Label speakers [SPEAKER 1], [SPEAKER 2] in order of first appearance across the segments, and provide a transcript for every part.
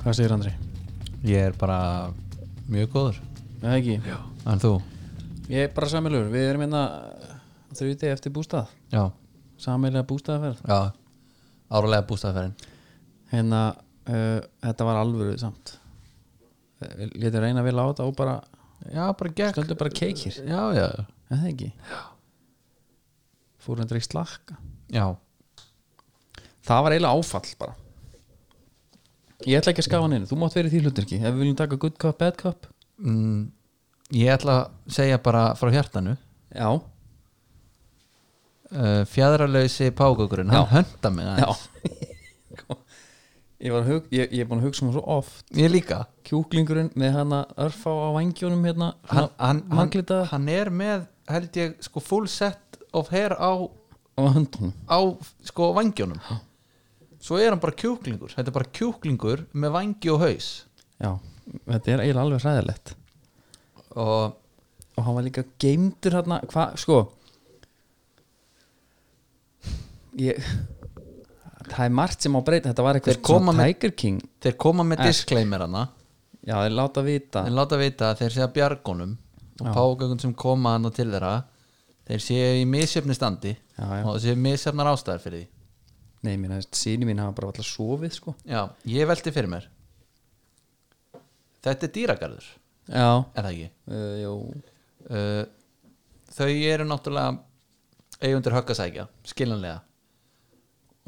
[SPEAKER 1] Hvað segir Andri?
[SPEAKER 2] Ég er bara mjög góður
[SPEAKER 1] Nei, ekki.
[SPEAKER 2] En þú?
[SPEAKER 1] Ég er bara samilur. Við erum hérna uh, þrjúti eftir bústað.
[SPEAKER 2] Já,
[SPEAKER 1] Samilega bústaðaferð.
[SPEAKER 2] já Áralega bústæðferðin
[SPEAKER 1] Hérna, uh, þetta var alvöru samt. Eh, Við letum reyna vel á þetta og bara
[SPEAKER 2] Já, bara gekk
[SPEAKER 1] stöndum bara keikir.
[SPEAKER 2] Já, já,
[SPEAKER 1] Er það ekki? Já. Fórum þetta ekki slakka.
[SPEAKER 2] já
[SPEAKER 1] Það var eiginlega áfall bara. Ég ætla ekki að skafa hann inn. Þú mátt verið því hlutur ekki. Ef við viljum taka good cup, bad cup.
[SPEAKER 2] mm, Ég ætla að segja bara frá hjartanu
[SPEAKER 1] Já.
[SPEAKER 2] uh, Fjæðralausi págökurinn Hann hönda mig
[SPEAKER 1] Já.
[SPEAKER 2] aðeins.
[SPEAKER 1] ég var að hug, ég, ég er búin að hugsa um það svo oft.
[SPEAKER 2] Ég líka
[SPEAKER 1] kjúklingurinn með hana örfá á vangjónum hérna
[SPEAKER 2] hann, hann, hann,
[SPEAKER 1] manglita
[SPEAKER 2] hann er með held ég sko full set of hair á,
[SPEAKER 1] á höndunum
[SPEAKER 2] á sko vangjónum svo er hann bara kjúklingur þetta er bara kjúklingur með vangi og haus
[SPEAKER 1] já, þetta er eiginlega alveg hræðilegt
[SPEAKER 2] og
[SPEAKER 1] og hann var líka geimdur hérna hvað, sko ég það er margt sem á breyta, þetta var
[SPEAKER 2] Þeir
[SPEAKER 1] eitthvað
[SPEAKER 2] koma
[SPEAKER 1] svona
[SPEAKER 2] með-
[SPEAKER 1] Tiger King
[SPEAKER 2] þeir koma með disclaimer hana
[SPEAKER 1] já, þeir láta vita
[SPEAKER 2] þeir láta vita að þeir séu að bjargunum og págöngum sem koma hann til þeirra þeir séu í misjöfni standi
[SPEAKER 1] Já, já.
[SPEAKER 2] og þeir séu misjöfnar ástæðar fyrir því
[SPEAKER 1] nei, mér veist, síni mín hafa bara alltaf sofið sko
[SPEAKER 2] já, ég velti fyrir mér þetta er dýragarður
[SPEAKER 1] já,
[SPEAKER 2] er það ekki?
[SPEAKER 1] uh, jú
[SPEAKER 2] uh, þau eru náttúrulega eigundur höggasækja, skiljanlega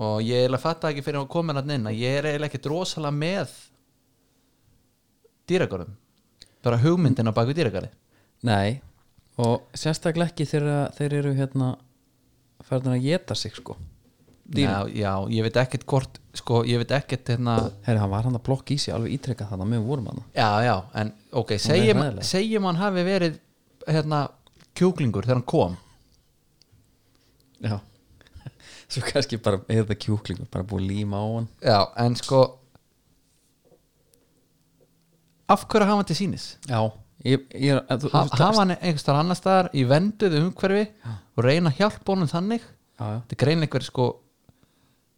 [SPEAKER 2] og ég eiginlega fatta ekki fyrir að koma hann inn að ég er eiginlega ekki drosalega með dýragarðum bara hugmyndina bak við dýragarði
[SPEAKER 1] nei, og sérstaklega ekki þegar þeir eru hérna færðin að geta sig sko
[SPEAKER 2] já, já, ég veit ekkert hvort sko, ég veit ekkert hérna
[SPEAKER 1] Herri, hann var hann að blokka í sig alveg ítrekka þannig að við vorum hann
[SPEAKER 2] já, já, en ok,
[SPEAKER 1] er
[SPEAKER 2] segjum,
[SPEAKER 1] hræðileg.
[SPEAKER 2] segjum hann hafi verið hérna kjúklingur þegar hann kom
[SPEAKER 1] Já Svo kannski bara, er þetta kjúklingur bara búið að líma á hann
[SPEAKER 2] já, en sko af hverju hafa hann til sínis?
[SPEAKER 1] Já ég, ég, er- að, þú,
[SPEAKER 2] ha,
[SPEAKER 1] þú-
[SPEAKER 2] hafa hann einhvers þar annar staðar í venduðu umhverfi og reyna að hjálpa honum þannig
[SPEAKER 1] Já, já.
[SPEAKER 2] þetta er greinleikver sko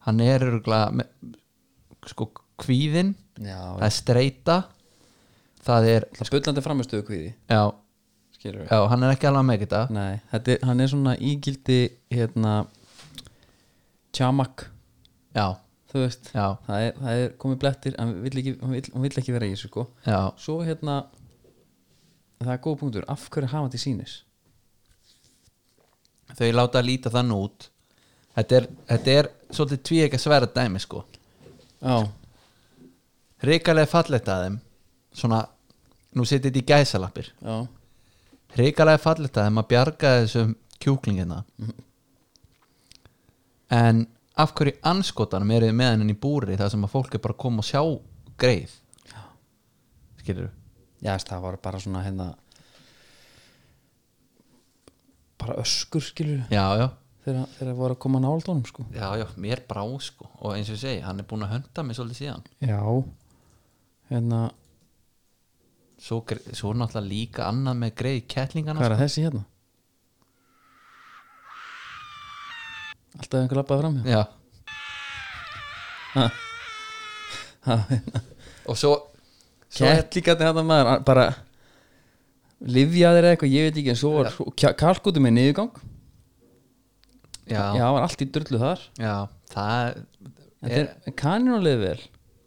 [SPEAKER 2] hann er örgulega með, sko kvíðin
[SPEAKER 1] Já,
[SPEAKER 2] það er streita það er
[SPEAKER 1] Það bullandi framistuðu kvíði
[SPEAKER 2] já,
[SPEAKER 1] Skilur
[SPEAKER 2] já, hann er ekki alveg með þetta
[SPEAKER 1] Nei, þetta er, hann er svona ígildi hérna tjamak,
[SPEAKER 2] já,
[SPEAKER 1] þú veist
[SPEAKER 2] já,
[SPEAKER 1] það er, það er komið blettir, hann vill ekki, hann vill, hann vill ekki vera í þessu sko
[SPEAKER 2] já
[SPEAKER 1] Svo hérna það er góð punktur, af hverju hafa hann til sínis
[SPEAKER 2] þau láta að líta þann út þetta er, þetta er svolítið tví ekki að sverra dæmi sko
[SPEAKER 1] Já,
[SPEAKER 2] reikalega fallegt að þeim svona, nú setið þetta í gæsalappir
[SPEAKER 1] já,
[SPEAKER 2] hrikalega fallit að þeim að bjarga þessum kjúklingina en af hverju anskotanum eru þið með hennin í búri þar sem að fólk er bara að koma og sjá greið skilur
[SPEAKER 1] Já, þess, það var bara svona hérna bara öskur skilur
[SPEAKER 2] já, já,
[SPEAKER 1] þegar þegar það voru að koma nált honum sko
[SPEAKER 2] já, já, mér brá sko og eins og ég segi, hann er búin að hönda mig svolítið síðan
[SPEAKER 1] Já hérna,
[SPEAKER 2] svo, gre- svo er náttúrulega líka annað með greið kettlingana
[SPEAKER 1] hvað er að þessi hérna? Alltaf einhver lappaði fram hjá
[SPEAKER 2] sko. já,
[SPEAKER 1] Ha, hérna.
[SPEAKER 2] og svo, svo er,
[SPEAKER 1] Kettlíkarnir hérna maður a- bara livjaðir eða eitthvað, ég veit ekki en svo var ja. kalkutu með niðurgang já.
[SPEAKER 2] já,
[SPEAKER 1] var allt í drullu þar
[SPEAKER 2] já það er,
[SPEAKER 1] yeah. kaninu leið vel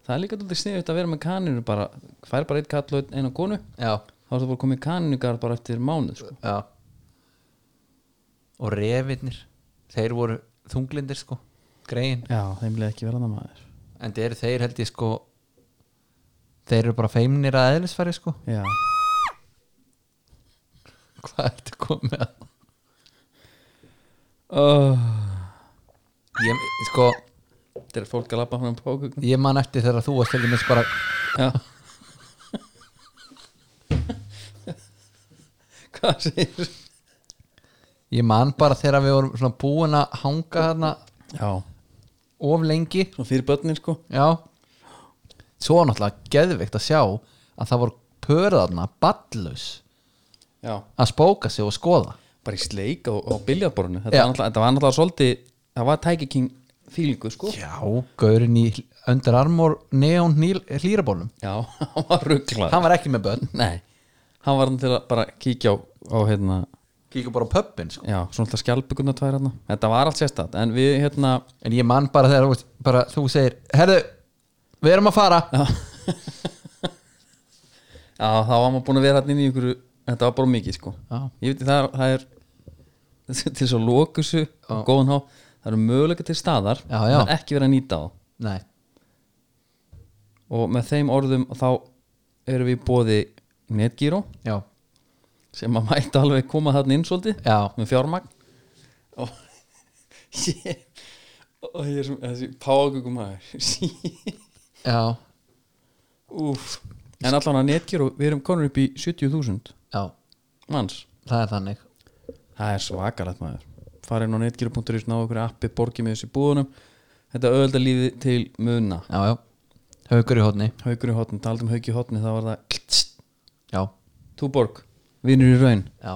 [SPEAKER 1] það er líka dóttir sniðut að vera með kaninu bara, fær bara eitt kall og eina konu
[SPEAKER 2] já,
[SPEAKER 1] þá er það bara komið kaninugar bara eftir mánuð sko.
[SPEAKER 2] já og refinir þeir voru þunglindir sko greiðin,
[SPEAKER 1] já, þeim leið ekki vera það maður
[SPEAKER 2] en þeir, þeir held ég sko þeir eru bara feimnir að eðlisfæri sko
[SPEAKER 1] já,
[SPEAKER 2] hvað ertu komið að
[SPEAKER 1] oh.
[SPEAKER 2] ég, sko,
[SPEAKER 1] þetta er fólk að labba hann á pókugn
[SPEAKER 2] ég man eftir þegar þú varst heldur minns bara
[SPEAKER 1] já hvað segir
[SPEAKER 2] ég man bara þegar við vorum svona búin að hanga þarna
[SPEAKER 1] já,
[SPEAKER 2] of lengi
[SPEAKER 1] svona fyrir börnin sko
[SPEAKER 2] já svo var náttúrulega geðveikt að sjá að það voru pörðarna ballaus
[SPEAKER 1] já,
[SPEAKER 2] að spóka sig og skoða
[SPEAKER 1] bara í sleik og, og biljarborinu þetta,
[SPEAKER 2] Já.
[SPEAKER 1] var náttúrulega- þetta var náttúrulega svolítið það var Tiger King fílingu sko
[SPEAKER 2] Já, gaurinn í Under Armour neon hlýrabólum
[SPEAKER 1] já, hann var rugglað
[SPEAKER 2] Hann var ekki með börn
[SPEAKER 1] nei, hann var hann til að bara kíkja á, á hérna,
[SPEAKER 2] Kíkja bara á pöppin sko.
[SPEAKER 1] já, svona alltaf skjálpuguna tvær hérna, þetta var allt sérstætt en við hérna,
[SPEAKER 2] En ég man bara þegar þú veist, bara, þú segir Herðu, við erum að fara
[SPEAKER 1] já já, þá var maður búin að vera hann inn í ykkur þetta var bara mikið sko
[SPEAKER 2] Já.
[SPEAKER 1] ég veit, það, er- það er til þess að lókusu, góðan há það eru möguleika til staðar
[SPEAKER 2] Já, já.
[SPEAKER 1] það er ekki verið að nýta þá
[SPEAKER 2] Nei,
[SPEAKER 1] og með þeim orðum þá erum við bóði netgíró
[SPEAKER 2] já,
[SPEAKER 1] sem að mæta alveg koma þarna inn svolítið
[SPEAKER 2] já
[SPEAKER 1] með fjármagn og ég og ég er sem þessi págugum aður
[SPEAKER 2] Já,
[SPEAKER 1] úf en allan að netgíró, við erum konur upp í 70.000
[SPEAKER 2] já,
[SPEAKER 1] manns
[SPEAKER 2] það er þannig
[SPEAKER 1] það er svakalegt maður farin á netgíró.is, ná okkur appi borgið með þessu búðunum þetta öðvölda lífið til muna
[SPEAKER 2] Já, já, haukur í hótni
[SPEAKER 1] haukur í hotni, taldum hauk í hotni þá var það
[SPEAKER 2] Já,
[SPEAKER 1] túborg, vinur í raun
[SPEAKER 2] já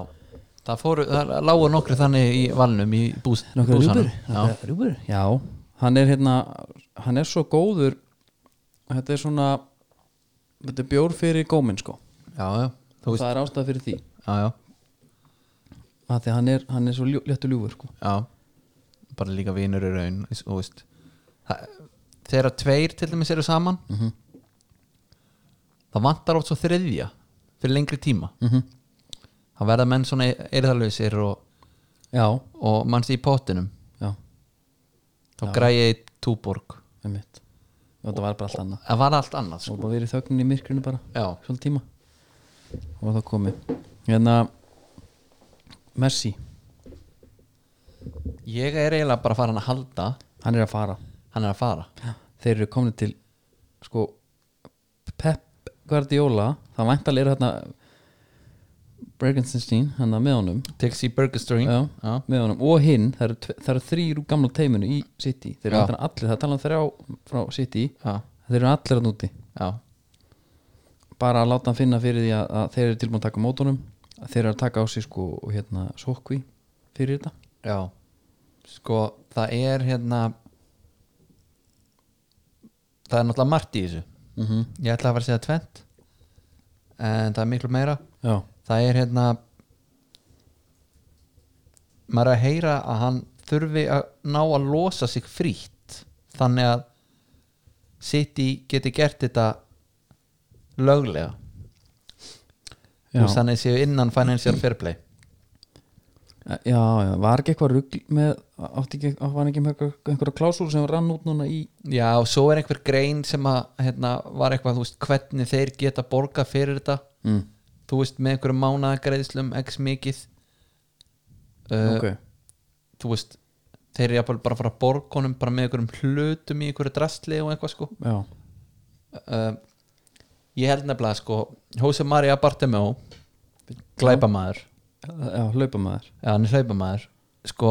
[SPEAKER 2] Það fóru, það lágu nokkri þannig í valnum í bús, búsanum Já,
[SPEAKER 1] Rjúbur Já, hann er hérna hann er svo góður þetta er svona þetta er bjór fyrir góminn sko
[SPEAKER 2] já, já, þú veist,
[SPEAKER 1] það er ástæð fyrir því
[SPEAKER 2] já, já
[SPEAKER 1] að því að hann er, hann er svo ljó, léttu ljúfur sko
[SPEAKER 2] Já, bara líka vinur í raun eins- og veist það- þegar tveir til dæmis eru saman það vantar oft svo þriðja fyrir lengri tíma
[SPEAKER 1] -hmm.
[SPEAKER 2] það verða menn svona eirðarlausir og,
[SPEAKER 1] Já,
[SPEAKER 2] og mannst í pottinum
[SPEAKER 1] já,
[SPEAKER 2] þá græði í túborg
[SPEAKER 1] með mitt og þetta var bara allt annað
[SPEAKER 2] það var allt annað
[SPEAKER 1] og
[SPEAKER 2] sko.
[SPEAKER 1] bara verið þögnin í myrkrinu bara
[SPEAKER 2] já,
[SPEAKER 1] svolítið tíma og það komið hérna Messi,
[SPEAKER 2] ég er eiginlega bara farin að halda
[SPEAKER 1] hann er að fara
[SPEAKER 2] hann er að fara
[SPEAKER 1] þeir eru komin til sko Pep Guardiola það væntal eru hérna Bergenstein, hann hérna með honum
[SPEAKER 2] Tixi Burger Stream
[SPEAKER 1] já,
[SPEAKER 2] já,
[SPEAKER 1] með honum og hinn, það eru, tve- það eru þrýr úr gamla teiminu í City, þeir eru
[SPEAKER 2] Já.
[SPEAKER 1] væntanlega allir það er talað um þrjá frá City
[SPEAKER 2] já,
[SPEAKER 1] þeir eru allir að núti,
[SPEAKER 2] já,
[SPEAKER 1] bara að láta hann finna fyrir því að, að þeir eru tilbúin að taka á mótunum að þeir eru að taka á sig sko hérna, sókví fyrir þetta
[SPEAKER 2] já. sko, það er hérna það er náttúrulega margt í þessu
[SPEAKER 1] mm -hmm.
[SPEAKER 2] ég ætla að fara að segja tvent en það er miklu meira
[SPEAKER 1] já,
[SPEAKER 2] það er hérna maður er að heyra að hann þurfi að ná að losa sig frítt þannig að City geti gert þetta löglega
[SPEAKER 1] já.
[SPEAKER 2] Þú veist, þannig séu innan financial fair play
[SPEAKER 1] Já, já, var ekki eitthvað rugg með, átti ekki, var ekki með einhver- einhverja klásúl sem rann út núna í
[SPEAKER 2] já og svo er einhver grein sem að hérna, var eitthvað þú veist hvernig þeir geta borga fyrir þetta
[SPEAKER 1] mm.
[SPEAKER 2] þú veist með einhverjum mánagreiðslum x mikið uh,
[SPEAKER 1] ok,
[SPEAKER 2] þú veist þeir eru jafnvel bara að fara að borga honum bara með einhverjum hlutum í einhverju drastli og eitthvað sko
[SPEAKER 1] já,
[SPEAKER 2] uh, ég held nefnilega sko Jose Maria Bartemeo glæpamaður,
[SPEAKER 1] já, hlaupamaður
[SPEAKER 2] já hann er hlaupamaður sko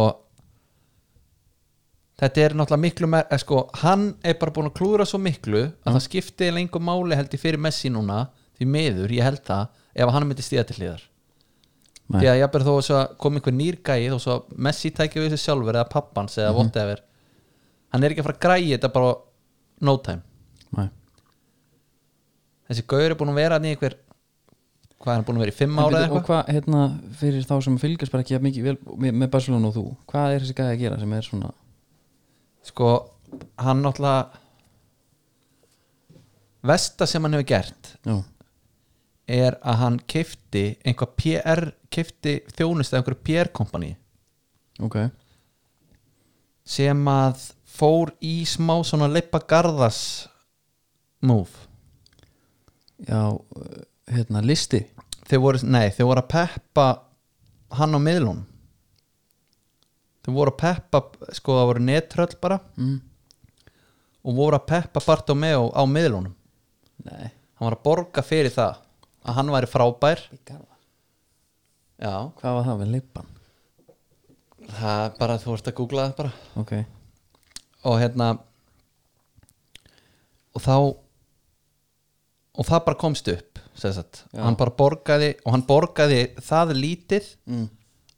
[SPEAKER 2] þetta er náttúrulega miklu mer eh, sko, hann er bara búin að klúra svo miklu að
[SPEAKER 1] Mm.
[SPEAKER 2] það skipti lengur máli held ég fyrir Messi núna því miður, ég held það ef hann myndi stíða til hliðar
[SPEAKER 1] Nei.
[SPEAKER 2] því að jafnvel þó svo að kom einhver nýr gæi þó svo að Messi tækja við þessu sjálfur eða pappans
[SPEAKER 1] Mhm.
[SPEAKER 2] eða whatever hann er ekki að fara að græja þetta bara á no time
[SPEAKER 1] Nei.
[SPEAKER 2] þessi gaur er búin að vera hann í einhver hvað er hann búin að vera í fimm
[SPEAKER 1] En
[SPEAKER 2] ára eða
[SPEAKER 1] bíddu, og
[SPEAKER 2] eitthvað
[SPEAKER 1] hvað, hérna, fyrir þá sem fylgjast bara ekki jafn mikið vel með, með Barcelona og þú hvað er þessi gæði að gera sem er svona
[SPEAKER 2] sko hann náttúrulega vesta sem hann hefur gert
[SPEAKER 1] já,
[SPEAKER 2] er að hann keifti einhvað PR, keifti þjónust eða einhverju PR kompani
[SPEAKER 1] ok,
[SPEAKER 2] sem að fór í smá svona leipa garðas move
[SPEAKER 1] já uh, hérna, listi
[SPEAKER 2] þeir voru, nei, þeir voru að peppa hann á miðlun þeir voru að peppa sko það voru nettröll bara
[SPEAKER 1] mm.
[SPEAKER 2] og voru að peppa Bartomeu á miðlunum
[SPEAKER 1] nei,
[SPEAKER 2] hann var að borga fyrir það að hann væri frábær já,
[SPEAKER 1] hvað var það við leipan
[SPEAKER 2] það er bara þú ert að googla það bara
[SPEAKER 1] ok,
[SPEAKER 2] og hérna og þá og það bara komst upp sem sagt.
[SPEAKER 1] Já.
[SPEAKER 2] hann bara borgaði og hann borgaði það lítið
[SPEAKER 1] mm.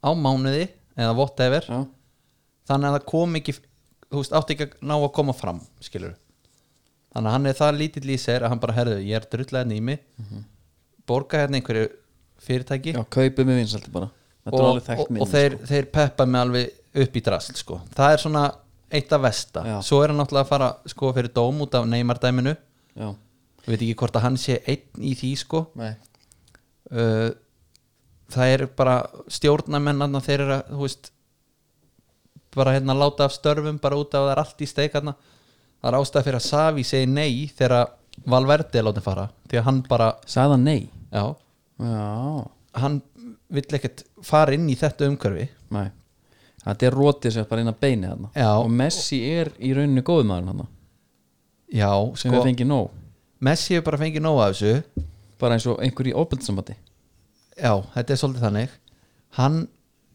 [SPEAKER 2] á mánuði eða whatever
[SPEAKER 1] já,
[SPEAKER 2] þannig að það kom ekki þú veist, átti ekki að ná að koma fram skilur þannig að hann er það lítill í sér að hann bara herðu ég er drullað hérna í mig borga hérna einhverju fyrirtæki
[SPEAKER 1] Mhm. já, kaupið með vinsaldi bara þetta er
[SPEAKER 2] og,
[SPEAKER 1] alveg þekkt
[SPEAKER 2] og,
[SPEAKER 1] minni sko.
[SPEAKER 2] og þeir, þeir peppa mig alveg upp í drasl sko. það er svona eitt af vesta
[SPEAKER 1] Já.
[SPEAKER 2] svo er hann náttúrulega að fara sko, fyrir dóm út af neymardæminu
[SPEAKER 1] sko. já,
[SPEAKER 2] við veit ekki hvort að hann sé einn í því sko.
[SPEAKER 1] nei,
[SPEAKER 2] uh, það er bara stjórnamenn þeir eru að þú veist, bara hérna láta af störfum bara út af að það er allt í steik hérna. það er ástæð fyrir að Savi segi nei þegar Valverdi er látið fara því að hann bara,
[SPEAKER 1] sagði hann nei
[SPEAKER 2] já
[SPEAKER 1] já,
[SPEAKER 2] hann vill ekkert fara inn í þetta umhverfi
[SPEAKER 1] nei þetta er rótið sér bara inn að beini hann
[SPEAKER 2] Já.
[SPEAKER 1] og Messi er í rauninni góðum maður hann
[SPEAKER 2] já,
[SPEAKER 1] sem við
[SPEAKER 2] sko,
[SPEAKER 1] fengið nóg
[SPEAKER 2] Messi hefur bara fengið nóg af þessu
[SPEAKER 1] bara eins og einhver í ofbeldissambandi
[SPEAKER 2] já, þetta er svolítið þannig hann,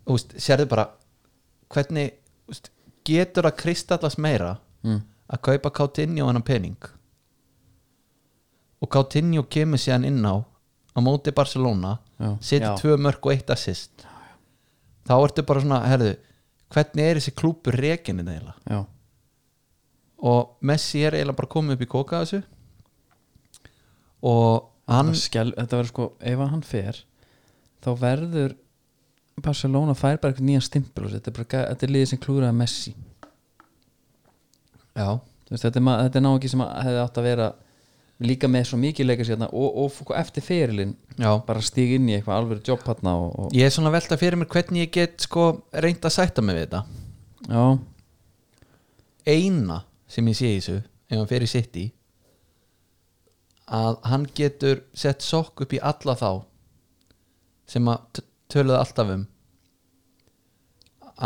[SPEAKER 2] þú veist, sérðu bara hvernig, þú veist, getur að kristallast meira
[SPEAKER 1] mm.
[SPEAKER 2] að kaupa Coutinho hennan pening og Coutinho kemur síðan inn á á móti Barcelona
[SPEAKER 1] Já.
[SPEAKER 2] setur
[SPEAKER 1] Já.
[SPEAKER 2] tvö mörg og eitt assist þá ertu bara svona, herðu hvernig er þessi klúpur rekinni neila
[SPEAKER 1] já,
[SPEAKER 2] og Messi er eiginlega bara komið upp í koka þessu og hann
[SPEAKER 1] Það skel, þetta verður sko, ef hann fer þá verður Barcelona fær bara eitthvað nýjan stimpil á sig. þetta er, bara, gæ- þetta er liðið sem klúraði Messi
[SPEAKER 2] já,
[SPEAKER 1] Þú veist, þetta, er, ma- þetta er náðingi sem að- hefði átt að vera líka með svo mikið leikar sérna og, og f- eftir ferilinn
[SPEAKER 2] já
[SPEAKER 1] bara stíg inn í eitthvað alveg jobb hann og, og,
[SPEAKER 2] ég er svona að velta fyrir mér hvernig ég get sko reynd að sætta mig við þetta
[SPEAKER 1] já,
[SPEAKER 2] eina sem ég sé í þessu ef hann fer í sitt í að hann getur sett sokk upp í alla þá sem að t- töluðu alltaf um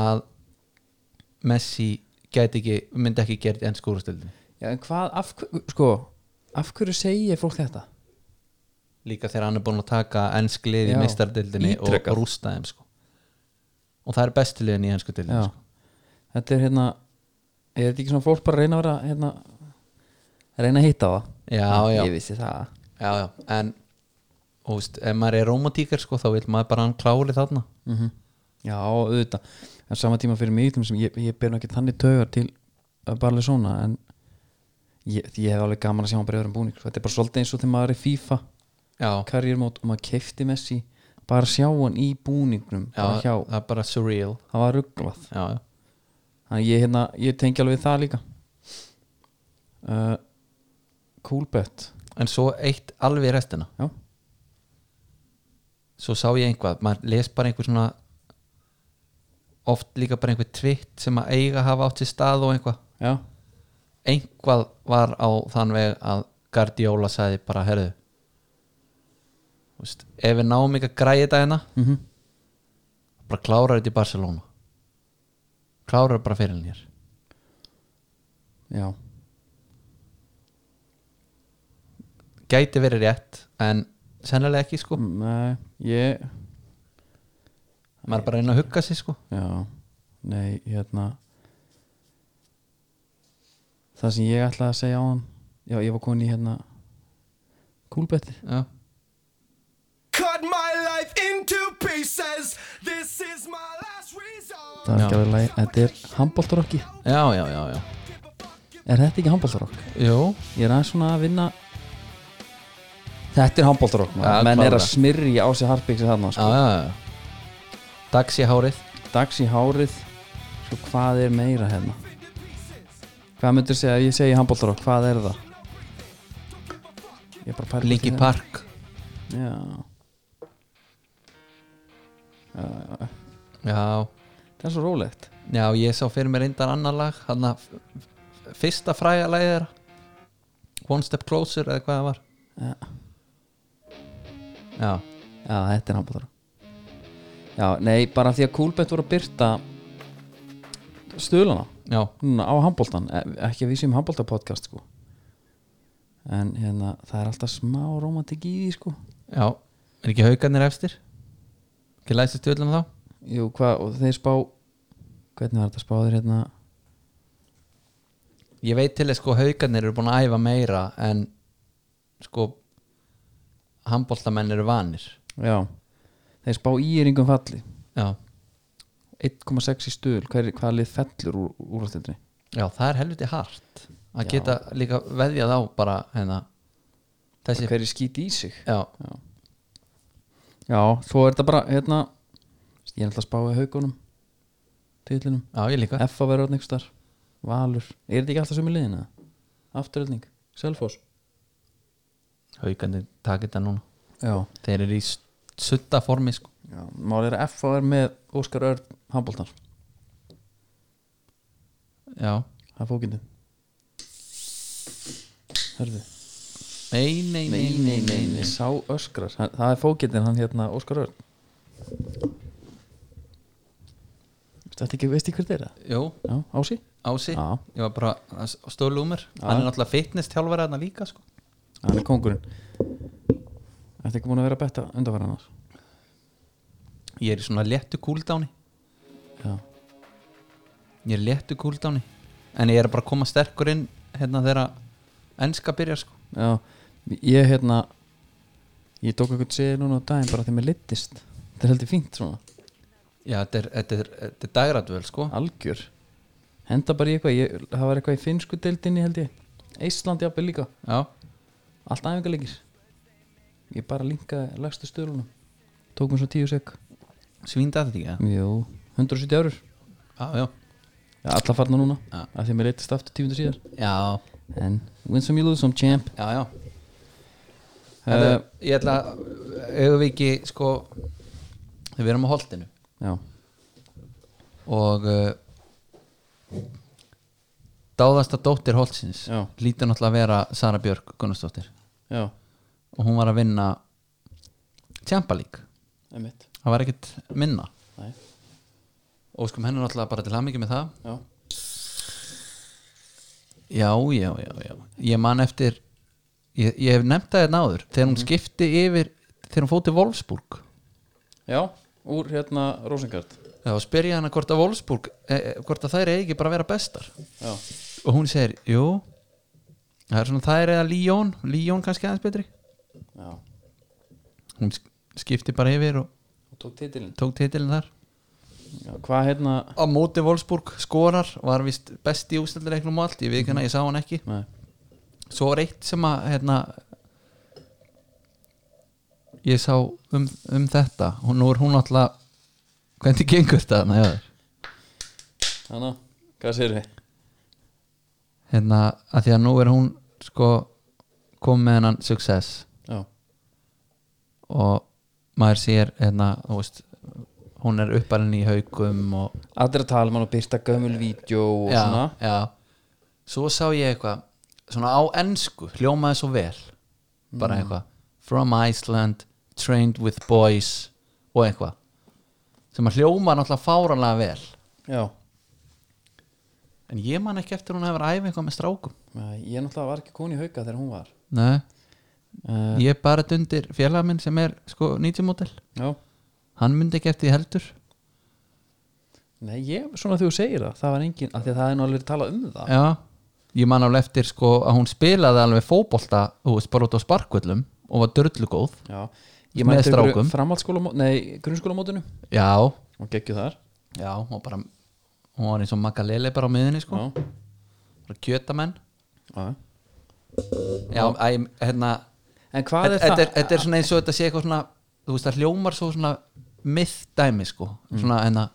[SPEAKER 2] að Messi gæti ekki, myndi ekki gerði enn skúrastildin
[SPEAKER 1] já, en hvað af, hver- sko, af hverju segir fólk þetta?
[SPEAKER 2] líka þegar hann er búin að taka ennsk lið í
[SPEAKER 1] Já,
[SPEAKER 2] meistardildinni og
[SPEAKER 1] ítrekað.
[SPEAKER 2] rústa þeim sko. og það er bestu liðin í ennsku dildin
[SPEAKER 1] Já,
[SPEAKER 2] sko.
[SPEAKER 1] þetta er hérna er þetta ekki svona fólk bara að reyna að vera hérna, að reyna að hitta það?
[SPEAKER 2] sko. já, já,
[SPEAKER 1] Ég vissi það
[SPEAKER 2] já, já, en og veist, ef maður er romantíkar sko, þá vil maður bara hann kláli þarna
[SPEAKER 1] mm Já, auðvitað en sama tíma fyrir mig til dæmis sem ég, ég ber nú ekki þannig taugar til barlega svona en ég, ég hef alveg gaman að sjá hann bara í öðrum búning þetta er bara svolítið eins og þegar maður er í FIFA
[SPEAKER 2] já,
[SPEAKER 1] karriérmót og maður keifti Messi bara sjá hann í búningnum
[SPEAKER 2] já,
[SPEAKER 1] bara hjá,
[SPEAKER 2] það er bara surreal
[SPEAKER 1] það var rugglað
[SPEAKER 2] já, já.
[SPEAKER 1] þannig ég, hérna, ég tengi alveg við það líka uh, Cool bet
[SPEAKER 2] en svo eitt alveg í restina
[SPEAKER 1] Já.
[SPEAKER 2] svo sá ég einhvað, maður les bara einhver svona oft líka bara einhver tvitt sem að eiga hafa átt sér stað og einhvað
[SPEAKER 1] Já,
[SPEAKER 2] einhvað var á þann veg að Guardiola sagði bara herðu þú veist, ef við náum ekki að græja þetta hérna
[SPEAKER 1] mm
[SPEAKER 2] bara klárar þetta í Barcelona klárar bara fyrir hér
[SPEAKER 1] já.
[SPEAKER 2] gæti verið rétt en sennilega ekki sko
[SPEAKER 1] Mm, Nei, ég
[SPEAKER 2] maður er bara að reyna að hugga sig sko
[SPEAKER 1] Já, nei, hérna Það sem ég ætlaði að segja á hann Já, ég var komin í hérna Kúlbetti
[SPEAKER 2] já
[SPEAKER 3] Cut my life into pieces. This is my last resort.
[SPEAKER 1] Það er ekki
[SPEAKER 2] Já.
[SPEAKER 1] alveg læg, þetta er handbóltarokki
[SPEAKER 2] Já, já, já, já
[SPEAKER 1] Er þetta ekki handbóltarokk?
[SPEAKER 2] Jú,
[SPEAKER 1] Ég er aðeins svona að vinna Þetta er handbóltarokk ja,
[SPEAKER 2] Ja,
[SPEAKER 1] Menn er að
[SPEAKER 2] klárlega.
[SPEAKER 1] smyrja á sig harpiksi þarna
[SPEAKER 2] já,
[SPEAKER 1] sko.
[SPEAKER 2] já, já. Dags í hárið
[SPEAKER 1] Dags í hárið Svo hvað er meira hérna? Hvað myndir segja ef ég segi handbóltarokk? Hvað er það? Ég er bara pæri
[SPEAKER 2] Linkin Park
[SPEAKER 1] Já,
[SPEAKER 2] Já,
[SPEAKER 1] það er svo rólegt
[SPEAKER 2] já, ég sá fyrir mér eindan annar lag Þannig að fyrsta fræja lagið þeirra One Step Closer eða hvað það var
[SPEAKER 1] Já.
[SPEAKER 2] Já,
[SPEAKER 1] Já, þetta er handbóltar Já, nei, bara því að Kúlbett voru að byrta stöðlana
[SPEAKER 2] já,
[SPEAKER 1] núna á handbóltan, ekki að við séum handbóltapodcast sko en hérna, það er alltaf smá romantik í því sko
[SPEAKER 2] já Er ekki haugarnir efstir? Ekki læsist tjóðlum þá?
[SPEAKER 1] Jú, hvað, og þeir spá hvernig var þetta spáður hérna
[SPEAKER 2] Ég veit til þess sko haugarnir eru búin að æfa meira En sko Hamboltamenn eru vanir
[SPEAKER 1] Já, þeir spá íringum falli
[SPEAKER 2] Já,
[SPEAKER 1] 1,6 í stöðl, hver, hvaða lið fellur úr, úr alltendri
[SPEAKER 2] já, það er helviti hart að
[SPEAKER 1] Já.
[SPEAKER 2] geta líka veðjað á bara hérna þessi,
[SPEAKER 1] hver er skýt í sig
[SPEAKER 2] já,
[SPEAKER 1] já, svo er þetta bara hérna, ég er alltaf að spáði haugunum titlinum,
[SPEAKER 2] já, ég líka
[SPEAKER 1] F að vera einhvers þar, Valur, er þetta ekki alltaf sömu liðina? Afturöldning, Selfoss
[SPEAKER 2] haugandi takit þetta núna
[SPEAKER 1] já,
[SPEAKER 2] þeir eru í sutta formi sko.
[SPEAKER 1] já málið er að F er með Óskar Örn Hamboltar,
[SPEAKER 2] já,
[SPEAKER 1] það er fókindin hörðu
[SPEAKER 2] nei, nei, nei, nei, nei, nei.
[SPEAKER 1] sá öskrar, það, það er fókindin hann hérna Óskar Örn Þetta ekki, veist ekki hver þetta er það?
[SPEAKER 2] jú,
[SPEAKER 1] Já, Ási?
[SPEAKER 2] ási
[SPEAKER 1] Já.
[SPEAKER 2] ég var bara stólumur hann er náttúrulega fitness þjálfari þarna líka sko.
[SPEAKER 1] Hann er kongurinn Þetta ekki búin að vera að betta undanfæra annars
[SPEAKER 2] ég er í svona léttu kúldáni
[SPEAKER 1] Já,
[SPEAKER 2] ég er í léttu kúldáni en ég er bara að koma sterkur inn hérna þegar ennska byrjar sko.
[SPEAKER 1] já Ég hérna Ég tók eitthvað séð núna á daginn bara þegar mér litist Þetta er heldur fínt svona,
[SPEAKER 2] já, þetta er, þetta er, þetta er dagradvöl sko.
[SPEAKER 1] algjör Henda bara í eitthvað, ég, það var eitthvað í finnsku deildinni held ég Íslandi jafnvel líka,
[SPEAKER 2] já,
[SPEAKER 1] allt æfingarleikir Ég bara linkaði lagstu stöðlunum Tók mér svo tíu sek
[SPEAKER 2] svínda þetta ekki eða?
[SPEAKER 1] Jú, 170 eurur
[SPEAKER 2] já, já,
[SPEAKER 1] Já, alla farna núna,
[SPEAKER 2] Já.
[SPEAKER 1] af því að mér litist aftur tífundu síðar
[SPEAKER 2] já
[SPEAKER 1] En, win some you lose some champ
[SPEAKER 2] Já, já
[SPEAKER 1] Eh,
[SPEAKER 2] Þetta- Ég ætla að eigum við ekki sko við erum á holtinu
[SPEAKER 1] Já,
[SPEAKER 2] og uh, dáðasta dóttir holtsins
[SPEAKER 1] Já.
[SPEAKER 2] lítur náttúrulega að vera Sara Björk Gunnarsdóttir
[SPEAKER 1] já,
[SPEAKER 2] og hún var að vinna tjampalík,
[SPEAKER 1] einmitt
[SPEAKER 2] það var ekkert minna
[SPEAKER 1] Nei,
[SPEAKER 2] og skum henni náttúrulega bara til hamingi með það
[SPEAKER 1] já,
[SPEAKER 2] Já, já, já, já Ég man eftir, ég, ég hef nefnt það hérna áður þegar hún skipti yfir þegar hún fóti Wolfsburg
[SPEAKER 1] já úr hérna Rosengard
[SPEAKER 2] Já, og spyr ég hana hvort að Wolfsburg eh, hvort að þær eigi ekki bara að vera bestar
[SPEAKER 1] Já,
[SPEAKER 2] og hún segir, jú það er svona þær eða Líón Líón kannski aðeins betri
[SPEAKER 1] já,
[SPEAKER 2] hún sk- skipti bara yfir og
[SPEAKER 1] og tók titilin
[SPEAKER 2] tók titilin þar
[SPEAKER 1] Já, hvað hérna
[SPEAKER 2] á móti Wolfsburg skorar var vist besti ústöldileiknum og allt ég veit hérna, ég sá hann ekki
[SPEAKER 1] Nei,
[SPEAKER 2] svo var eitt sem að hérna, ég sá um, um þetta og nú er hún alltaf hvernig gengur þetta þarna hjá þér?
[SPEAKER 1] hana, hvað sér við?
[SPEAKER 2] hérna að því að nú er hún sko kom með hennan success
[SPEAKER 1] Já,
[SPEAKER 2] og maður sér hérna, þú veist hún er uppalinn í haukum og
[SPEAKER 1] allir að tala um hann og byrta gömul vídjó og svona
[SPEAKER 2] já svo sá ég eitthvað svona á ensku, hljómaði svo vel bara eitthvað from Iceland, trained with boys og eitthvað sem að hljóma náttúrulega fáranlega vel
[SPEAKER 1] Já,
[SPEAKER 2] en ég man ekki eftir hún hefur æfið eitthvað með strákum
[SPEAKER 1] Nei, ég náttúrulega var ekki koni í hauka þegar hún var
[SPEAKER 2] Nei,
[SPEAKER 1] uh,
[SPEAKER 2] ég er bara dundir félag minn sem er sko 90 model
[SPEAKER 1] Já,
[SPEAKER 2] hann myndi ekki eftir því heldur
[SPEAKER 1] nei, ég, svona þegar þú segir það það var engin, af því að það er nú alveg að tala um það
[SPEAKER 2] já, ég man alveg eftir sko að hún spilaði alveg fótbolta þú veist, bara út á sparkvöllum og var dörlu góð
[SPEAKER 1] Já,
[SPEAKER 2] Með
[SPEAKER 1] ég mætti
[SPEAKER 2] strákum.
[SPEAKER 1] framhaldsskóla, nei, grunnskólamótinu
[SPEAKER 2] já,
[SPEAKER 1] og geggju þar
[SPEAKER 2] já, hún var bara hún var eins og Magalele bara á miðinni sko
[SPEAKER 1] Já,
[SPEAKER 2] bara kjötamenn
[SPEAKER 1] já
[SPEAKER 2] já, æ, hérna
[SPEAKER 1] En hvað
[SPEAKER 2] þetta
[SPEAKER 1] er það?
[SPEAKER 2] þetta er, þetta er svona eins og þetta sé eitthvað svona þú veist, það hljómar svo svona myðdæmi sko, svona hérna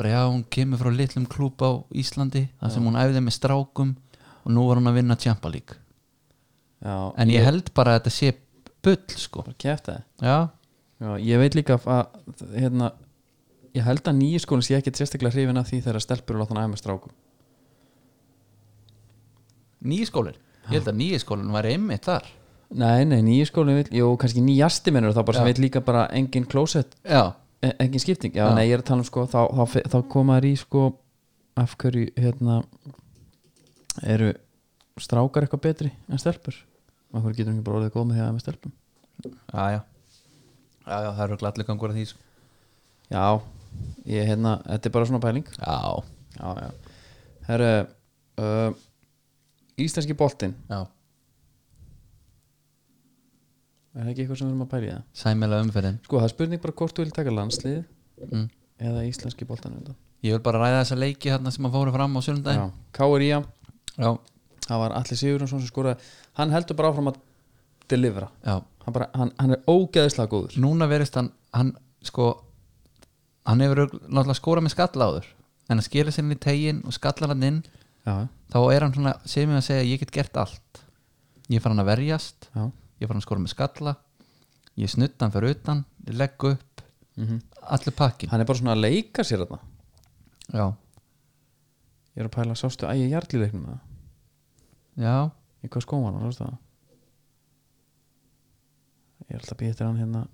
[SPEAKER 2] bara já, hún kemur frá litlum klúb á Íslandi þar sem hún æfði með strákum og nú var hún að vinna Champa League
[SPEAKER 1] Já,
[SPEAKER 2] en ég held bara að þetta sé bull sko
[SPEAKER 1] bara kæfta það
[SPEAKER 2] já,
[SPEAKER 1] Já, ég veit líka að hérna, ég held að nýju skólinn sé ekki sérstaklega hrifin af því þegar stelpur og láta hann aðeins með strákum
[SPEAKER 2] nýji skólin ég held að nýji skólin var einmitt þar
[SPEAKER 1] Nei, nei, nýju skólinn vil, jú, kannski nýjasti mennur þá bara sem
[SPEAKER 2] Já.
[SPEAKER 1] vil líka bara engin klósett
[SPEAKER 2] já,
[SPEAKER 1] e- engin skipting, já,
[SPEAKER 2] Já.
[SPEAKER 1] nei, ég er að tala um sko þá, þá, fe- þá koma þær í sko af hverju, hérna eru strákar eitthvað betri en stelpur af hverju getur ekki bara orðið góð með því að með stelpum
[SPEAKER 2] já, já já, já, það eru glallir gangur að því sko.
[SPEAKER 1] Já, ég, hérna, þetta er bara svona pæling
[SPEAKER 2] já,
[SPEAKER 1] Já, já Herru, uh, íslenski boltinn
[SPEAKER 2] já,
[SPEAKER 1] Er það ekki eitthvað sem við erum að pæla í það?
[SPEAKER 2] sæmilega umferðin
[SPEAKER 1] Sko, það er spurning bara hvort þú vil taka landslið
[SPEAKER 2] mm.
[SPEAKER 1] eða íslenski boltan undan
[SPEAKER 2] ég vil bara ræða þessa leiki þarna sem að fóru fram á
[SPEAKER 1] Já,
[SPEAKER 2] sjöndaginn
[SPEAKER 1] Káur Ía,
[SPEAKER 2] já,
[SPEAKER 1] það var Alli Sigurjónsson sem skoraði hann heldur bara áfram að delivera
[SPEAKER 2] já,
[SPEAKER 1] hann, bara, hann, hann er ógeðislega góður
[SPEAKER 2] núna verist hann hann sko hann hefur örugglega- náttúrulega skórað með skalla áður en að skera sér inn í tegin og skallar hann inn
[SPEAKER 1] já,
[SPEAKER 2] þá er hann svona, segir mig að segja ég get gert allt ég fara hann að verjast
[SPEAKER 1] já,
[SPEAKER 2] ég fara hann að skora með skalla ég snutta hann fyrir utan, ég legg upp
[SPEAKER 1] Mhm.
[SPEAKER 2] allir pakkin
[SPEAKER 1] hann er bara svona að leika sér þarna
[SPEAKER 2] já,
[SPEAKER 1] ég er að pæla, sástu ægi hjartlileiknum það
[SPEAKER 2] já,
[SPEAKER 1] í hvað skóma hann, sástu það ég er alltaf að býja eftir hann hérna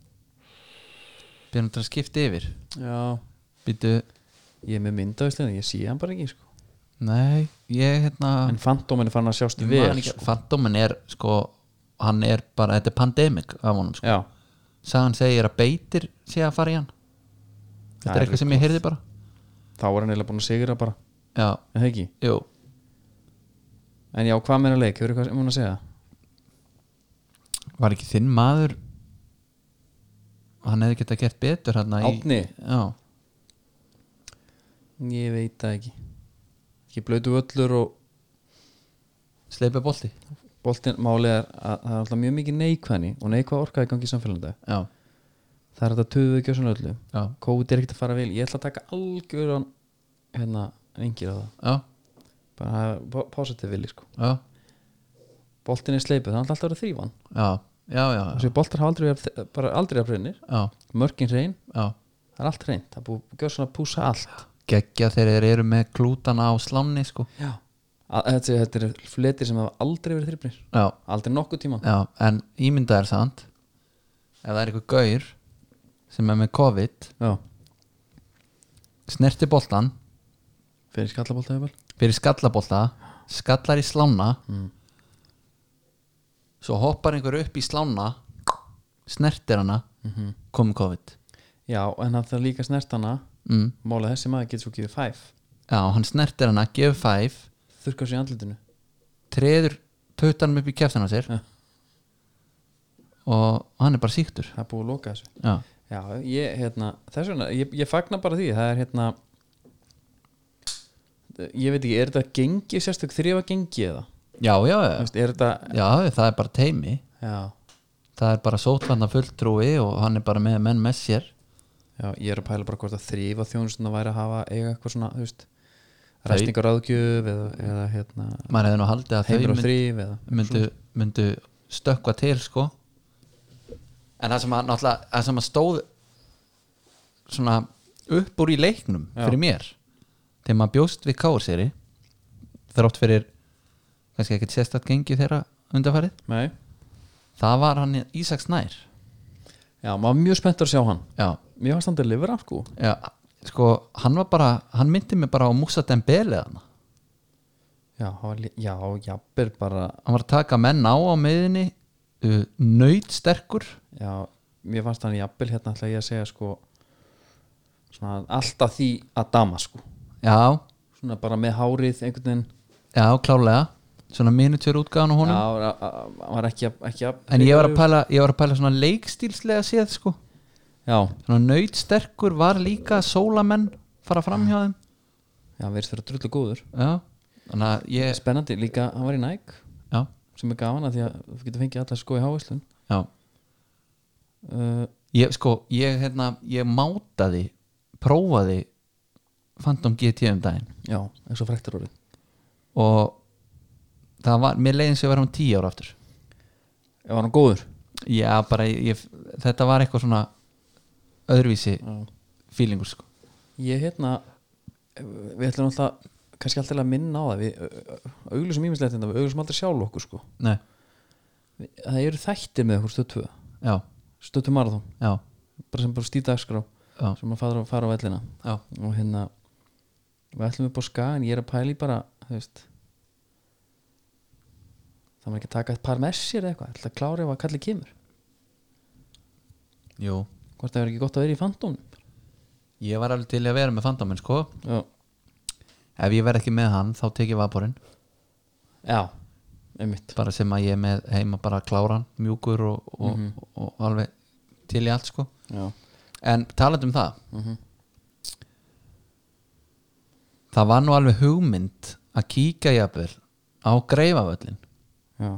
[SPEAKER 2] byrjum þetta að skipta yfir
[SPEAKER 1] já,
[SPEAKER 2] býtu,
[SPEAKER 1] ég er með myndaðislega ég sé hann bara ekki, sko
[SPEAKER 2] nei ég hérna
[SPEAKER 1] en fantómin er farin að sjást
[SPEAKER 2] ég
[SPEAKER 1] vel
[SPEAKER 2] man ekki-
[SPEAKER 1] sko.
[SPEAKER 2] Fantóminn er sko hann er bara, þetta er pandemic af honum sko.
[SPEAKER 1] já,
[SPEAKER 2] sagan segir að beitir sé að fara í hann þetta
[SPEAKER 1] Það
[SPEAKER 2] er
[SPEAKER 1] er
[SPEAKER 2] eitthvað sem ég heyrði bara
[SPEAKER 1] þá er hann eiginlega búin að sigra bara
[SPEAKER 2] já,
[SPEAKER 1] en það ekki,
[SPEAKER 2] jú,
[SPEAKER 1] en já, hvað meina leik hefur eitthvað sem hún að segja
[SPEAKER 2] var ekki þinn maður hann hefði geta gert betur hann
[SPEAKER 1] Árni,
[SPEAKER 2] já,
[SPEAKER 1] ég veit það ekki ekki blötu völlur og
[SPEAKER 2] sleipa bolti
[SPEAKER 1] boltinn málið er að það er alltaf mjög mikið neikvæðni og neikvæð orka í gangi í samfélandi
[SPEAKER 2] já,
[SPEAKER 1] það er þetta töðu ekki á svona öllu
[SPEAKER 2] já,
[SPEAKER 1] COVID er ekkert að fara vel, ég ætla að taka algjörðan hérna, engir á það
[SPEAKER 2] já,
[SPEAKER 1] bara positive vilji sko
[SPEAKER 2] já
[SPEAKER 1] boltin er sleipið, það er alltaf að vera þrývan
[SPEAKER 2] já, já, já, já,
[SPEAKER 1] þessi boltar hafa aldrei, verið- bara aldrei að brennir
[SPEAKER 2] já,
[SPEAKER 1] mörkin reyn,
[SPEAKER 2] já.
[SPEAKER 1] það er allt reynt það er búið að gjöra svona að púsa allt
[SPEAKER 2] geggja þegar þeir eru með klútana á sláni sko,
[SPEAKER 1] Já. Að- þetta, þetta er fletir sem hafa aldrei verið þrýbnir
[SPEAKER 2] já,
[SPEAKER 1] aldrei nokkuð tíma
[SPEAKER 2] já en ímynda er samt ef það er eitthvað gaur sem er með COVID
[SPEAKER 1] Já.
[SPEAKER 2] snerti boltan
[SPEAKER 1] fyrir skallabolta hefur
[SPEAKER 2] fyrir skallabolta skallar í slána
[SPEAKER 1] Mm.
[SPEAKER 2] svo hoppar einhver upp í slána snertir hana
[SPEAKER 1] Mhm.
[SPEAKER 2] komum COVID
[SPEAKER 1] já, en það þarf líka snertana
[SPEAKER 2] mm.
[SPEAKER 1] mála þessi maður getur svo gefið fæf
[SPEAKER 2] já, hann snertir hana, gefur fæf
[SPEAKER 1] þurrkar sér í andlitinu
[SPEAKER 2] treður puttanum upp í kjæftan á sér
[SPEAKER 1] Ja.
[SPEAKER 2] og hann er bara síktur
[SPEAKER 1] það er búið að loka þessu
[SPEAKER 2] já,
[SPEAKER 1] já, ég, hérna, þess vegna, ég, ég fagna bara því það er hérna ég veit ekki, er þetta gengi sérstök þrýfa gengi eða
[SPEAKER 2] já, já,
[SPEAKER 1] Þú
[SPEAKER 2] já.
[SPEAKER 1] veist, er þetta,
[SPEAKER 2] já það er bara teimi
[SPEAKER 1] já,
[SPEAKER 2] það er bara sótvarna fulltrúi og hann er bara með menn með sér
[SPEAKER 1] já ég er að pæla bara hvort að þrýfa þjónustuna væri að hafa eiga eitthvað svona, þú veist ræstingar áðgjöf eða, eða hérna,
[SPEAKER 2] maður hefði nú haldið að þau
[SPEAKER 1] heimur á
[SPEAKER 2] mynd,
[SPEAKER 1] þrýf eða
[SPEAKER 2] myndu, myndu stökkva til sko en það sem að náttúrulega það sem að stóð svona upp úr í leiknum
[SPEAKER 1] Já.
[SPEAKER 2] fyrir mér þegar maður bjóst við káurseri þrátt fyrir kannski ekkert sérstætt gengi þeirra undarfærið
[SPEAKER 1] nei,
[SPEAKER 2] það var hann Ísaks nær
[SPEAKER 1] já, maður var mjög spenntur að sjá hann
[SPEAKER 2] já,
[SPEAKER 1] mér varst hann til lifra, sko
[SPEAKER 2] já sko hann var bara hann myndi mig bara á Musa Dembele þarna
[SPEAKER 1] já, hann var lí- já, jafnvel bara
[SPEAKER 2] hann var að taka menn á á miðinni uh, nöyt sterkur
[SPEAKER 1] Já, mér fannst hann jafnvel hérna ætla ég að segja sko svona alltaf því að dama sko
[SPEAKER 2] já,
[SPEAKER 1] svona bara með hárið einhvern veginn
[SPEAKER 2] já klálega svona miniature útgáðan á honum
[SPEAKER 1] Já, a- a- hann var ekki, að- ekki að
[SPEAKER 2] en ég var, að pæla, ég var að pæla svona leikstílslega séð sko
[SPEAKER 1] Já,
[SPEAKER 2] svona nöyt sterkur var líka sólamenn fara fram hjá þeim
[SPEAKER 1] já, hann verðist fyrir drullu góður
[SPEAKER 2] já, þannig að ég
[SPEAKER 1] Spennandi, líka hann var í Nike
[SPEAKER 2] já,
[SPEAKER 1] sem er gaman að því að þú getur fengið alla sko í hávæslun
[SPEAKER 2] já
[SPEAKER 1] uh,
[SPEAKER 2] ég sko, ég hérna, ég mátaði prófaði Phantom GT um daginn
[SPEAKER 1] Já, eins og frektur orðið
[SPEAKER 2] og það var, mér leiðin sem ég var um tíu ára aftur
[SPEAKER 1] Já, var hann góður
[SPEAKER 2] Já, bara ég, ég, þetta var eitthvað svona öðruvísi
[SPEAKER 1] Já.
[SPEAKER 2] feelingur sko
[SPEAKER 1] Ég hérna við ætlum alltaf kannski alltaf að minna á það við auglusum ímislegt þetta, hérna, við auglusum aldrei sjálf okkur sko
[SPEAKER 2] Nei,
[SPEAKER 1] Við- það eru þættir með okkur stöð 2
[SPEAKER 2] já,
[SPEAKER 1] stöð 2 marathon
[SPEAKER 2] já,
[SPEAKER 1] bara sem bara stýta dagskrá
[SPEAKER 2] já,
[SPEAKER 1] sem að fara, fara á vellina
[SPEAKER 2] já,
[SPEAKER 1] og hérna við ætlum upp á skagan, ég er að pæla í bara þú veist það maður ekki að taka eitt par með sér eða eitthvað, ætla að klára ef að kallið kemur
[SPEAKER 2] jú
[SPEAKER 1] hvort það verður ekki gott að vera í fandónum
[SPEAKER 2] Ég var alveg til í að vera með fandáminn sko
[SPEAKER 1] já,
[SPEAKER 2] Ef ég verð ekki með hann, þá tek ég vaporinn
[SPEAKER 1] já einmitt
[SPEAKER 2] bara sem að ég er með heima bara kláran mjúkur og, og, og, alveg til í allt sko
[SPEAKER 1] já.
[SPEAKER 2] Mhm. En talandi um það það var nú alveg hugmynd að kíka jafnvel á greifavöllin
[SPEAKER 1] já,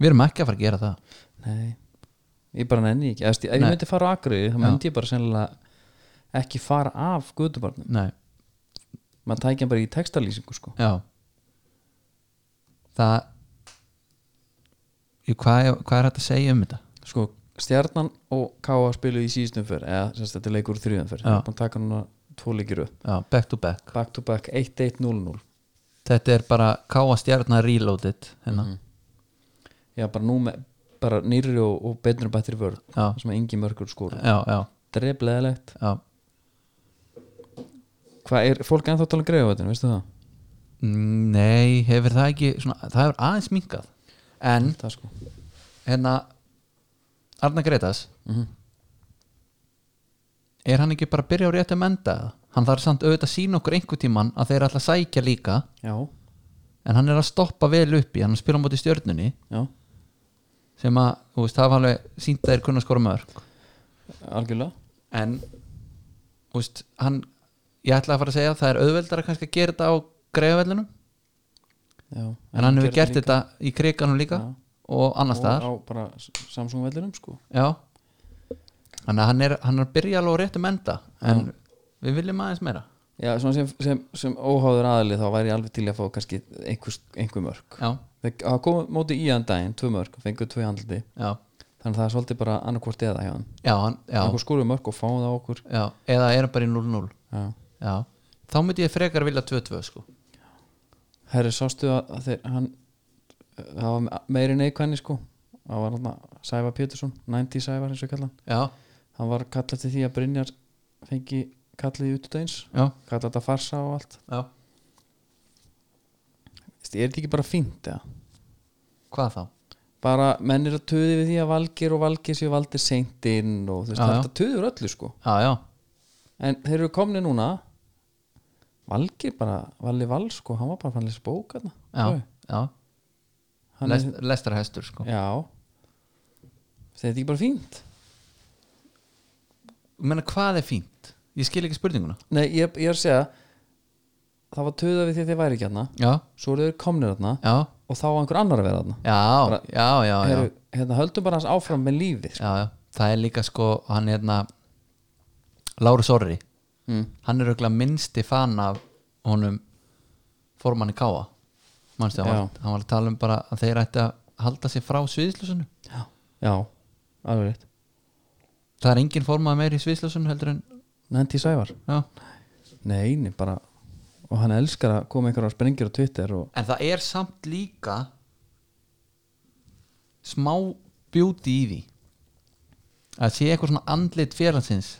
[SPEAKER 2] við erum ekki að fara að gera það
[SPEAKER 1] nei ég bara nenni ekki, Eðast, ef ég
[SPEAKER 2] Nei.
[SPEAKER 1] myndi fara á Akureyri þá myndi ég bara sennilega ekki fara af guðubarnum
[SPEAKER 2] nei,
[SPEAKER 1] maður tækja hann bara í textalýsingu sko
[SPEAKER 2] já það Jú, hvað, er- hvað er hægt að segja um þetta
[SPEAKER 1] sko, stjarnan og K.A. spilu í síðustum fyrr eða sem sagt, þetta er leikur úr þriðum fyrr
[SPEAKER 2] Já.
[SPEAKER 1] það er búin að taka núna tvo leikir upp
[SPEAKER 2] já, back to back
[SPEAKER 1] back to back 1-1-0-0
[SPEAKER 2] þetta er bara káa stjarnar reloaded hérna.
[SPEAKER 1] já, bara nú með bara nýri og, og betnur bættir vörð
[SPEAKER 2] Já.
[SPEAKER 1] sem að engi mörgur skóru
[SPEAKER 2] já, já,
[SPEAKER 1] drefleðilegt
[SPEAKER 2] já
[SPEAKER 1] hvað er fólk ennþá að tala um greiðavættin, veistu það?
[SPEAKER 2] Mm, nei, hefur það ekki svona, það hefur aðeins minkað en
[SPEAKER 1] það sko
[SPEAKER 2] hérna Arna Gretas
[SPEAKER 1] Mhm.
[SPEAKER 2] er hann ekki bara að byrja á réttum enda eða? hann þarf samt auðvitað að sína okkur einhver tíman að þeir ætla að sækja líka
[SPEAKER 1] já,
[SPEAKER 2] en hann er að stoppa vel upp í hann er að spila á móti stjörnunni
[SPEAKER 1] já,
[SPEAKER 2] sem að, þú veist, það var alveg sínt að þeir kunna skora mörg
[SPEAKER 1] algjörlega
[SPEAKER 2] en, þú veist, hann ég ætla að fara að segja að það er auðveldara kannski að gera þetta á greiðavellunum
[SPEAKER 1] já,
[SPEAKER 2] en hann hefur
[SPEAKER 1] gerði
[SPEAKER 2] gert
[SPEAKER 1] líka-
[SPEAKER 2] þetta í kriganum líka
[SPEAKER 1] Já.
[SPEAKER 2] og annars staðar
[SPEAKER 1] og á bara Samsung vellinum sko
[SPEAKER 2] Já Þannig að hann er, hann er að byrja alveg á réttum enda en við viljum aðeins meira
[SPEAKER 1] já, svona sem, sem, sem óháður aðli þá væri ég alveg til að fá kannski einhvers, einhver mörg
[SPEAKER 2] Já,
[SPEAKER 1] Þeir- það kom móti í hann daginn, tvö mörg fengur tvö handliti,
[SPEAKER 2] já,
[SPEAKER 1] þannig að það er svolítið bara annarkvort eða hjá hann,
[SPEAKER 2] já, hann, já,
[SPEAKER 1] okkur skúru mörg og fáum það á okkur
[SPEAKER 2] já eða er hann bara í 0-0
[SPEAKER 1] já.
[SPEAKER 2] Já, þá myndi ég frekar vilja 2-2 sko
[SPEAKER 1] herri, sástu að, að þeir, hann það var meiri neikvæðni sko það var hann Sævar Pétursson 90 Sævar eins og kallan,
[SPEAKER 2] Já,
[SPEAKER 1] hann var kallað til því að Brynjar fengi kallið út út eins
[SPEAKER 2] já,
[SPEAKER 1] kallað þetta farsa og allt
[SPEAKER 2] já
[SPEAKER 1] Veistu, er þetta ekki bara fínt eða?
[SPEAKER 2] Hvað þá?
[SPEAKER 1] bara menn er að töði við því að valgir og valgir séu valdir seint inn og þú veist,
[SPEAKER 2] Já,
[SPEAKER 1] það er
[SPEAKER 2] já.
[SPEAKER 1] þetta töður öllu sko
[SPEAKER 2] Já, já,
[SPEAKER 1] en þeir eru komni núna valgir bara, valli val sko hann var bara fann lesa bók hann,
[SPEAKER 2] já, já
[SPEAKER 1] hann
[SPEAKER 2] Lest,
[SPEAKER 1] er,
[SPEAKER 2] Lestarhestur sko
[SPEAKER 1] já þetta er ekki bara fínt
[SPEAKER 2] Ég meina hvað er fínt? Ég skil ekki spurninguna
[SPEAKER 1] nei, ég, ég er að segja það var töða við því að þeir væri ekki hann
[SPEAKER 2] Já,
[SPEAKER 1] svo eru þeir komnir hann
[SPEAKER 2] já,
[SPEAKER 1] og þá var einhver annar að vera hann
[SPEAKER 2] já,
[SPEAKER 1] Bara-
[SPEAKER 2] já, já, já.
[SPEAKER 1] Heru, hérna, höldum bara hans áfram með lífið sko.
[SPEAKER 2] já, já, það er líka sko hann hérna Lárus Orri
[SPEAKER 1] Mm.
[SPEAKER 2] hann er auðvitað minnsti fan af honum formanni Káa manstu, hann, var,
[SPEAKER 1] Já.
[SPEAKER 2] hann var að tala um bara að þeir ætti að halda sig frá sviðslösunu
[SPEAKER 1] já, já, alveg rétt
[SPEAKER 2] það er engin formað meir í sviðslösunu heldur en
[SPEAKER 1] Nendi Sævar
[SPEAKER 2] já.
[SPEAKER 1] Nei, nei, bara og hann elskar að koma einhverjar sprengjur á Twitter og
[SPEAKER 2] en það er samt líka smá bjúti í því að sé eitthvað svona andlit félagsins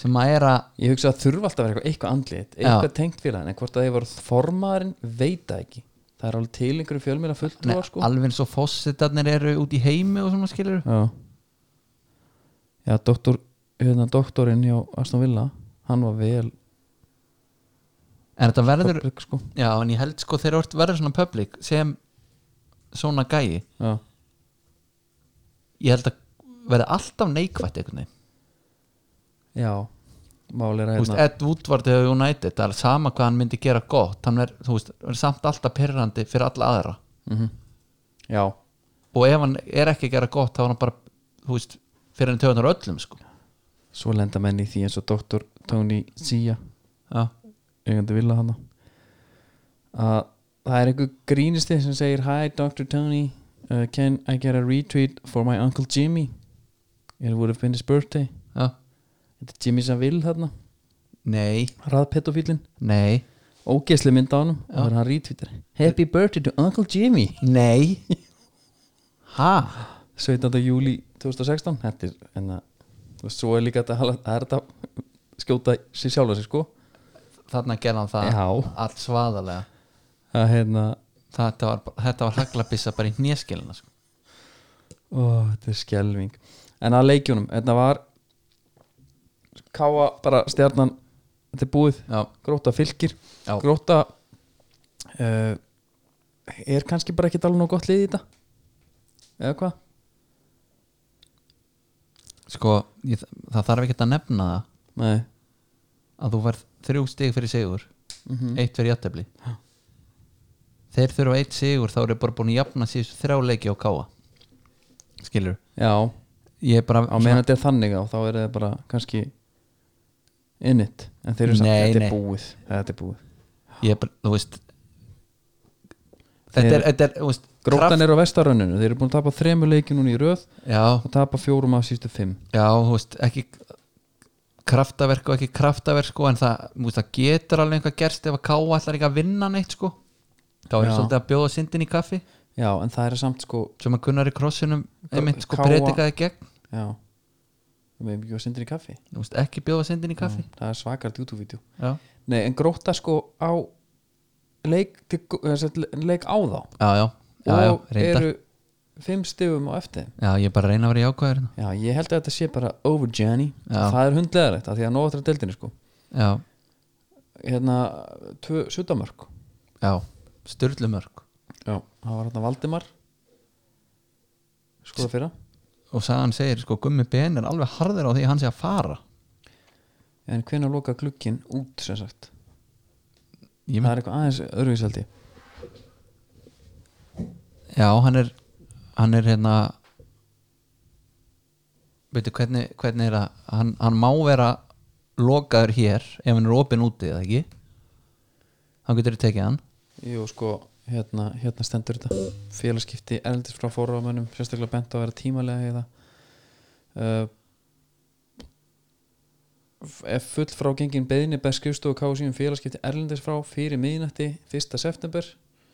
[SPEAKER 2] sem að er að
[SPEAKER 1] ég hugsa að þurfa alltaf að vera eitthvað, eitthvað andlit eitthvað tengt félagin, en hvort að þið voru formaðurinn veit það ekki, það er alveg til einhverju fjölmjöla
[SPEAKER 2] Nei,
[SPEAKER 1] fulltrúar sko
[SPEAKER 2] alveg eins og fósitarnir eru út í heimi og svona skilur
[SPEAKER 1] Já Já, doktor, hérna doktorinn hjá Aston Villa, hann var vel
[SPEAKER 2] en þetta verður,
[SPEAKER 1] public, sko,
[SPEAKER 2] já en ég held sko þeir eru verður svona public sem svona gæi,
[SPEAKER 1] já,
[SPEAKER 2] ég held að verði alltaf neikvætt einhvern veginn
[SPEAKER 1] já máli er að
[SPEAKER 2] Þú veist,
[SPEAKER 1] hérna
[SPEAKER 2] Ed Woodward eða United það er sama hvað hann myndi gera gott hann er, þú veist, er samt alltaf perrandi fyrir alla aðra
[SPEAKER 1] Mhm. Já,
[SPEAKER 2] og ef hann er ekki að gera gott þá er hann bara, þú veist, fyrir hann töðunar öllum sko,
[SPEAKER 1] svo lenda menn í því eins og doktor Tony Sia
[SPEAKER 2] já,
[SPEAKER 1] eigandi villa hana að það er einhver grínisti sem segir Hi Dr. Tony, uh, can I get a retweet for my uncle Jimmy it would have been his birthday
[SPEAKER 2] já
[SPEAKER 1] þetta er Jimmy Saville þarna,
[SPEAKER 2] nei,
[SPEAKER 1] raðpetofílin
[SPEAKER 2] nei,
[SPEAKER 1] ógeðsli mynd á honum og það er hann retweetar Happy birthday to uncle Jimmy
[SPEAKER 2] nei ha
[SPEAKER 1] 17. júli 2016 þetta er, en að þú veist, svo er líka þetta hala- það er þetta skjóta sér sjálfa sér sko
[SPEAKER 2] þarna gerði hann það
[SPEAKER 1] Já.
[SPEAKER 2] allt svaðalega
[SPEAKER 1] að hérna,
[SPEAKER 2] þetta var, bara- þetta var haglabissa bara í hnjaskilina sko.
[SPEAKER 1] ó, þetta er skelving en að leikjunum, þetta var káa bara stjarnan þetta er búið,
[SPEAKER 2] já,
[SPEAKER 1] gróta fylgir
[SPEAKER 2] Já.
[SPEAKER 1] gróta uh, er kannski bara ekki alveg nóg gott lið í þetta eða hvað?
[SPEAKER 2] sko ég, það þarf ekki að nefna það
[SPEAKER 1] Nei,
[SPEAKER 2] að þú verð þrjú stig fyrir sigur
[SPEAKER 1] Mhm.
[SPEAKER 2] eitt fyrir jættefli þeir þurfa eitt sigur þá eru bara búin að jafna síðustu þrjá leiki á káa skilur
[SPEAKER 1] já,
[SPEAKER 2] ég er bara
[SPEAKER 1] á meðan þetta er þannig á þá er það bara kannski innit, en þeir eru samt
[SPEAKER 2] Nei,
[SPEAKER 1] þetta
[SPEAKER 2] nei.
[SPEAKER 1] er búið, þetta er búið
[SPEAKER 2] ég er bara, þú veist þetta er, þetta er, þú veist
[SPEAKER 1] gróttan er á vestarönninu, þeir eru búin að tapa þremur leiki núna í röð
[SPEAKER 2] já,
[SPEAKER 1] og tapa fjórum af sístu fimm
[SPEAKER 2] já, þú veist, ekki kraftaverk og ekki kraftaverk sko, en það, þú veist, það getur alveg einhvað gerst ef að káa allar ekki að vinna neitt sko þá er
[SPEAKER 1] Já.
[SPEAKER 2] svolítið að bjóða syndin í kaffi
[SPEAKER 1] já, en það er samt sko
[SPEAKER 2] sem að kunnar í krossinum einmitt sko
[SPEAKER 1] Káa-
[SPEAKER 2] predikaði gegn
[SPEAKER 1] já, við erum ekki að syndir í kaffi
[SPEAKER 2] Þú veist, ekki bjóða syndin í kaffi
[SPEAKER 1] það er svakart YouTube-vídeó
[SPEAKER 2] já,
[SPEAKER 1] nei, en gróta sko á leik, til, eh, sem sagt, leik á þá
[SPEAKER 2] já, já, já, já
[SPEAKER 1] og
[SPEAKER 2] reyndar
[SPEAKER 1] eru fimm stigum á eftir þeim.
[SPEAKER 2] já, ég er bara að reyna að vera jákvæður hérna.
[SPEAKER 1] já, ég held að þetta sé bara over Jenny
[SPEAKER 2] Já.
[SPEAKER 1] það er hundlegarætt, því að nóðatra deildinni sko
[SPEAKER 2] já,
[SPEAKER 1] hérna, tvö suttamörk
[SPEAKER 2] já, styrlumörk
[SPEAKER 1] já, það var hérna Valdimar skoða fyrra
[SPEAKER 2] og sagan segir sko gummi ben er alveg harður á því að hann sé að fara
[SPEAKER 1] en hvenær loka glukkin út sem sagt það
[SPEAKER 2] ég mynd,
[SPEAKER 1] er eitthvað aðeins öðruvísaldi
[SPEAKER 2] já, hann er hann er hérna veitu hvernig, hvernig er að hann, hann má vera lokaður hér ef hann er opinn úti eða ekki hann getur þið tekið hann
[SPEAKER 1] jú, sko, hérna, hérna stendur þetta félagskipti erlendis frá fórháðamönnum sérstaklega bent á að vera tímalega heiða uh, ef full frá gengin beðinni ber skrifstofu kási um félagskipti erlendis frá fyrir miðnætti 1. september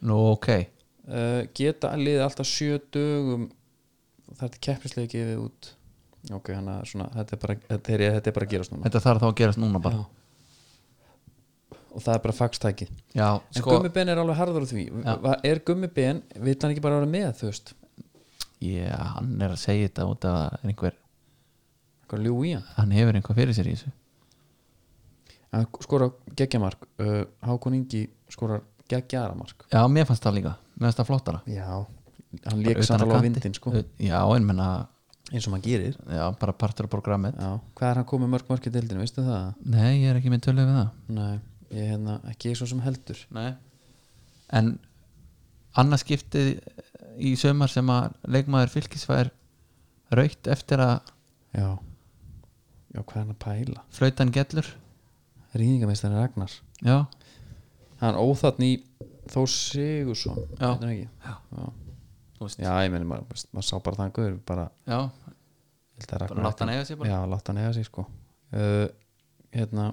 [SPEAKER 2] nú ok,
[SPEAKER 1] uh, geta liðið alltaf sjö dögum þar til keppnislega gefið út ok, hann að svona þetta er bara, þetta er, þetta er bara að gerast núna
[SPEAKER 2] þetta þarf þá að gerast núna bara
[SPEAKER 1] Já. og það er bara faxtæki
[SPEAKER 2] já,
[SPEAKER 1] en
[SPEAKER 2] sko,
[SPEAKER 1] Gummi Ben er alveg harður á því
[SPEAKER 2] Já.
[SPEAKER 1] Va- er Gummi Ben, vill hann ekki bara vera með þú veist,
[SPEAKER 2] já, hann er að segja þetta út af að einhver,
[SPEAKER 1] eitthvað ljú í hann
[SPEAKER 2] hann hefur einhver fyrir sér í þessu
[SPEAKER 1] hann skora geggjamark uh, Hákon Ingi skora geggjaramark
[SPEAKER 2] já, mér fannst það líka, mér fannst það flottara
[SPEAKER 1] já, hann
[SPEAKER 2] Bara
[SPEAKER 1] lék
[SPEAKER 2] utan
[SPEAKER 1] samt alveg á
[SPEAKER 2] kanti.
[SPEAKER 1] vindin sko.
[SPEAKER 2] Ö- já, en menna,
[SPEAKER 1] eins og maður gerir
[SPEAKER 2] já, bara partur á programmet
[SPEAKER 1] já. hvað er hann komið mörg mörg í deildinu, veistu það
[SPEAKER 2] nei, ég er ekki með tölum við það
[SPEAKER 1] nei, ég hérna, ekki svo sem heldur
[SPEAKER 2] Nei. en annað skiptið í sömar sem að leikmaður fylkisfær raukt eftir að
[SPEAKER 1] já, já hvað er hann að pæla
[SPEAKER 2] flautan gellur
[SPEAKER 1] rýningameistarinn Ragnar
[SPEAKER 2] já,
[SPEAKER 1] hann óþatn í Þór Sigursson
[SPEAKER 2] Já.
[SPEAKER 1] heitir hann ekki?
[SPEAKER 2] Já.
[SPEAKER 1] já.
[SPEAKER 2] þú veist,
[SPEAKER 1] Já, ég meni, maður, veist, maður sá bara þann guður bara,
[SPEAKER 2] já,
[SPEAKER 1] ég held að
[SPEAKER 2] bara
[SPEAKER 1] Ragnar
[SPEAKER 2] látt hann
[SPEAKER 1] ætti-
[SPEAKER 2] eiga sér bara
[SPEAKER 1] Já, látt hann eiga sig sko uh, Hérna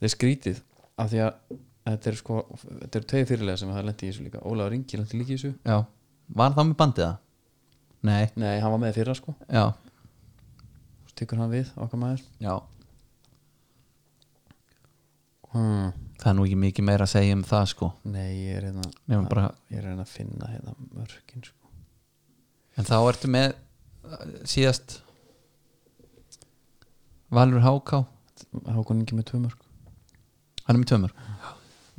[SPEAKER 1] Það er skrítið af því að þetta er sko, þetta er tveið fyrirlega sem það lendi í þessu líka, Ólaður Ingi lendi líka í þessu
[SPEAKER 2] já, var það með bandið það? nei,
[SPEAKER 1] Nei, hann var með fyrra sko,
[SPEAKER 2] já,
[SPEAKER 1] svo tekur hann við okkar maður
[SPEAKER 2] já
[SPEAKER 1] hmm.
[SPEAKER 2] það er nú ekki mikið meira að segja um það sko
[SPEAKER 1] Nei, ég er hérna
[SPEAKER 2] Mér var bara,
[SPEAKER 1] ég er hérna að finna hérna mörkin sko.
[SPEAKER 2] en þá ertu með uh, síðast Valur Háká
[SPEAKER 1] Hákon Ingi með tvö mörk
[SPEAKER 2] hann er með tömur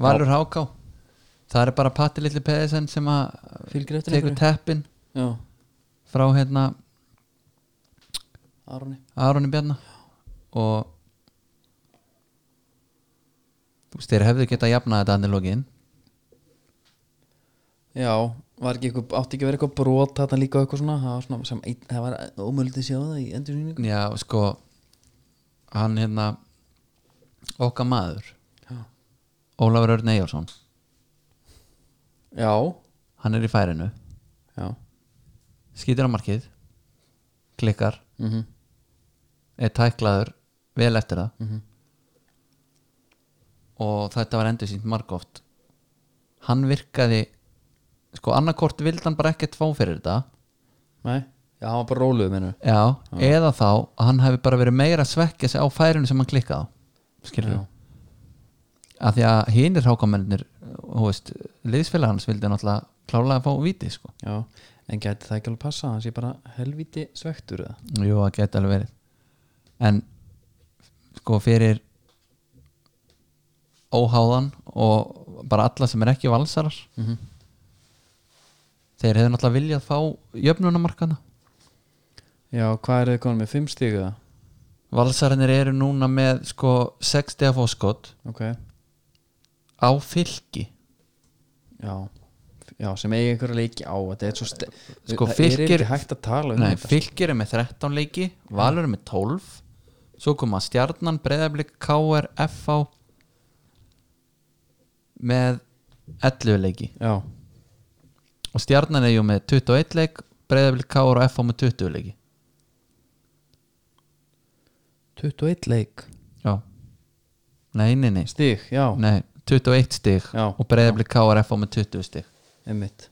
[SPEAKER 2] Valur Háká það er bara Patti Lilli Peðisen sem að
[SPEAKER 1] Fylgir eftir
[SPEAKER 2] tekur teppin
[SPEAKER 1] Já,
[SPEAKER 2] frá hérna
[SPEAKER 1] Aroni
[SPEAKER 2] Aroni Bjarna og þú veist þeir hefðu getað jafnað þetta annir lokin
[SPEAKER 1] Já, var ekki eitthvað, átti ekki að vera eitthvað brot þarna líka og eitthvað svona, það var svona sem, einn- það var ómöld að sjá það í endursýningu
[SPEAKER 2] já sko hann hérna okkar maður
[SPEAKER 1] Já.
[SPEAKER 2] Ólafur Örn Eyjálsson
[SPEAKER 1] Já,
[SPEAKER 2] hann er í færinu
[SPEAKER 1] já
[SPEAKER 2] skýtir á markið klikkar,
[SPEAKER 1] mm -hmm.
[SPEAKER 2] er tæklaður vel eftir það og þetta var endur sínt margóft hann virkaði sko annarkort vildi hann bara ekkert fá fyrir þetta
[SPEAKER 1] Nei, já, hann var bara róluð minnu
[SPEAKER 2] já, eða þá að hann hefði bara verið meira að svekkja sig á færinu sem hann klikkaði á skilur
[SPEAKER 1] Já.
[SPEAKER 2] við af því að hinir hákamennir hú veist, liðsfélag hans vildi náttúrulega klálega að fá víti sko
[SPEAKER 1] Já, en gæti það ekki alveg passa hans ég bara helviti svektur eða
[SPEAKER 2] Jú, það geti alveg verið En sko fyrir óháðan og bara alla sem er ekki valsarar
[SPEAKER 1] Mhm.
[SPEAKER 2] þeir hefur náttúrulega viljað fá jöfnunamarkana
[SPEAKER 1] Já, hvað er þið konum með? Fimm stíg eða?
[SPEAKER 2] Valsararnir eru núna með sko 6 stega fóskot
[SPEAKER 1] Ok,
[SPEAKER 2] á fylki
[SPEAKER 1] já, já sem eiga einhverja leiki á þetta er svo ste...
[SPEAKER 2] Sko,
[SPEAKER 1] það
[SPEAKER 2] Fylkir-
[SPEAKER 1] er ekki hægt að tala um
[SPEAKER 2] Nei,
[SPEAKER 1] þetta
[SPEAKER 2] fylkir er með 13 leiki Valur er með 12 Svo koma Stjarnan, Breiðablik, KR, FH með 11 leiki
[SPEAKER 1] já,
[SPEAKER 2] og Stjarnan er jú með 21 leik Breiðablik, KR og FH með 20 leiki
[SPEAKER 1] 21 leik
[SPEAKER 2] Já Nei, nei, nei,
[SPEAKER 1] stig, já,
[SPEAKER 2] nei 21 stig
[SPEAKER 1] Já.
[SPEAKER 2] og Breiðablik, KR, FH með 20 stig
[SPEAKER 1] einmitt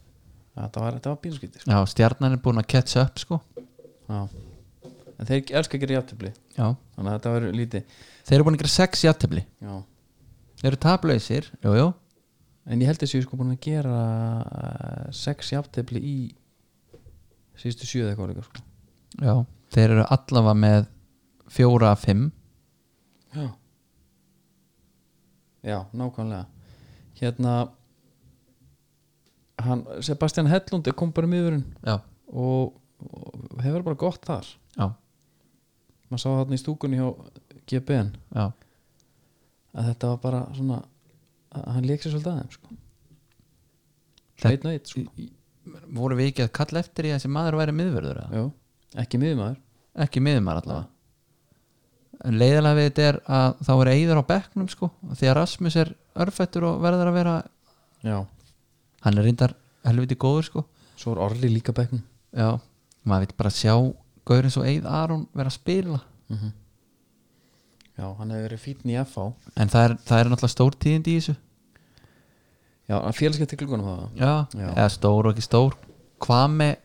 [SPEAKER 1] þetta var, þetta var bílskýtir
[SPEAKER 2] Já, Stjarnan er búin að catch up sko
[SPEAKER 1] já. en þeir elska að gera játtöfli
[SPEAKER 2] Já
[SPEAKER 1] þannig að þetta verður lítið
[SPEAKER 2] Þeir eru búin að gera 6 játtöfli
[SPEAKER 1] já.
[SPEAKER 2] Þeir eru taplausir, jú, jú
[SPEAKER 1] en ég held þessi sko búin að gera eh, sex játtöfli í síðustu sjöðu eitthvað líka sko.
[SPEAKER 2] Já Þeir eru allavega með 4 af 5
[SPEAKER 1] já já, nákvæmlega hérna hann, Sebastian Hellund kom bara í miðurinn
[SPEAKER 2] Já,
[SPEAKER 1] og, og hefur bara gott þar
[SPEAKER 2] já,
[SPEAKER 1] maður sá þarna í stúkunni hjá GBN
[SPEAKER 2] já
[SPEAKER 1] að þetta var bara svona að hann leik sér svolítið aðeim sko.
[SPEAKER 2] Þetta-
[SPEAKER 1] einn og einn sko.
[SPEAKER 2] Voru við ekki að kalla eftir í að þessi maður væri miðvörður eða?
[SPEAKER 1] Jú, ekki miðmaður
[SPEAKER 2] Ekki miðmaður allavega En leiðilega við þetta er að þá er eigður á bekknum sko Því að Rasmus er örfættur og verður að vera
[SPEAKER 1] já,
[SPEAKER 2] Hann er reyndar helviti góður sko
[SPEAKER 1] svo er Orli líka bekknum
[SPEAKER 2] Já, maður vill bara sjá Gaurinn svo eigð Aron vera að spila
[SPEAKER 1] já, hann hefur verið fítn í FH
[SPEAKER 2] En það er, það er náttúrulega stór tíðindi í þessu
[SPEAKER 1] já, hann félskett til klugunum það
[SPEAKER 2] Já,
[SPEAKER 1] Já.
[SPEAKER 2] eða stór og ekki stór Hvað með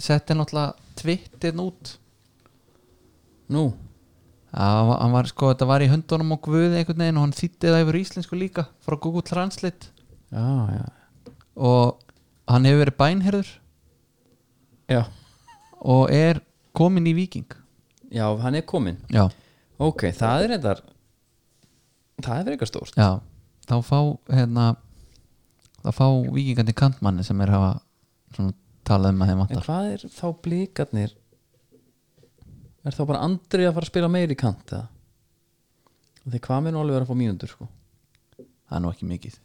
[SPEAKER 2] setti náttúrulega tvittin út
[SPEAKER 1] nú,
[SPEAKER 2] Já, hann var- hann var sko, þetta var í höndunum og guði einhvern veginn og hann þýtti það yfir á íslensku líka frá Google Translate
[SPEAKER 1] já, já
[SPEAKER 2] og hann hefur verið bænherður
[SPEAKER 1] já,
[SPEAKER 2] og er komin í viking
[SPEAKER 1] já hann er kominn
[SPEAKER 2] Já,
[SPEAKER 1] ok, það er reyndar það er eitthvað stórt
[SPEAKER 2] já, þá fá hérna, þá fá vikingandi kantmanni sem er hafa svona talað um að þeim
[SPEAKER 1] en
[SPEAKER 2] vantar
[SPEAKER 1] hvað er þá blíkarnir er þá bara Andri að fara að spila meiri kant eða því hvað minn Oliver að fá mínundur sko
[SPEAKER 2] Það er nú ekki mikið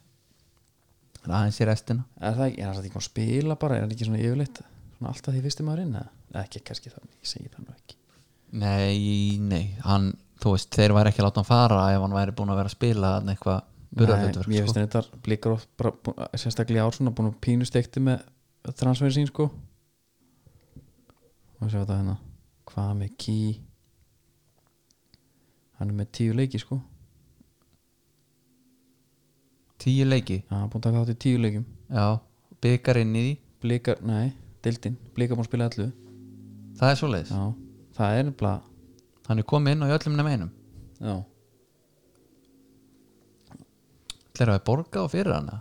[SPEAKER 2] Það er aðeins í restina
[SPEAKER 1] er það ekki, er hann samt ekki búinn að spila bara er hann ekki svona yfirleitt svona alltaf því fyrstu maður inn eða Eða ekki, kannski það, ég segi það nú ekki
[SPEAKER 2] Nei, nei, hann, þú veist, þeir væri ekki að láta hann fara ef hann væri búin að vera að spila þarna eitthvað burðarhlutverk sko.
[SPEAKER 1] Nei, ég veist þetta blíkar oft bara, bú- sérstaklega í ár svona búin að pínu stekti með transferin sín sko og sjá þetta hérna hvað með ký hann er með tíu leiki sko
[SPEAKER 2] Tíu leiki,
[SPEAKER 1] Já, hann er búin að taka þátt í tíu leikum
[SPEAKER 2] já, byggar inn í því
[SPEAKER 1] blíkar, nei, deildin, blíkar búin að spila allu
[SPEAKER 2] Það er svoleiðis
[SPEAKER 1] já, það er nefnilega
[SPEAKER 2] Hann er komið inn á í öllum nema einum
[SPEAKER 1] já,
[SPEAKER 2] Það er að borga og fyrir hana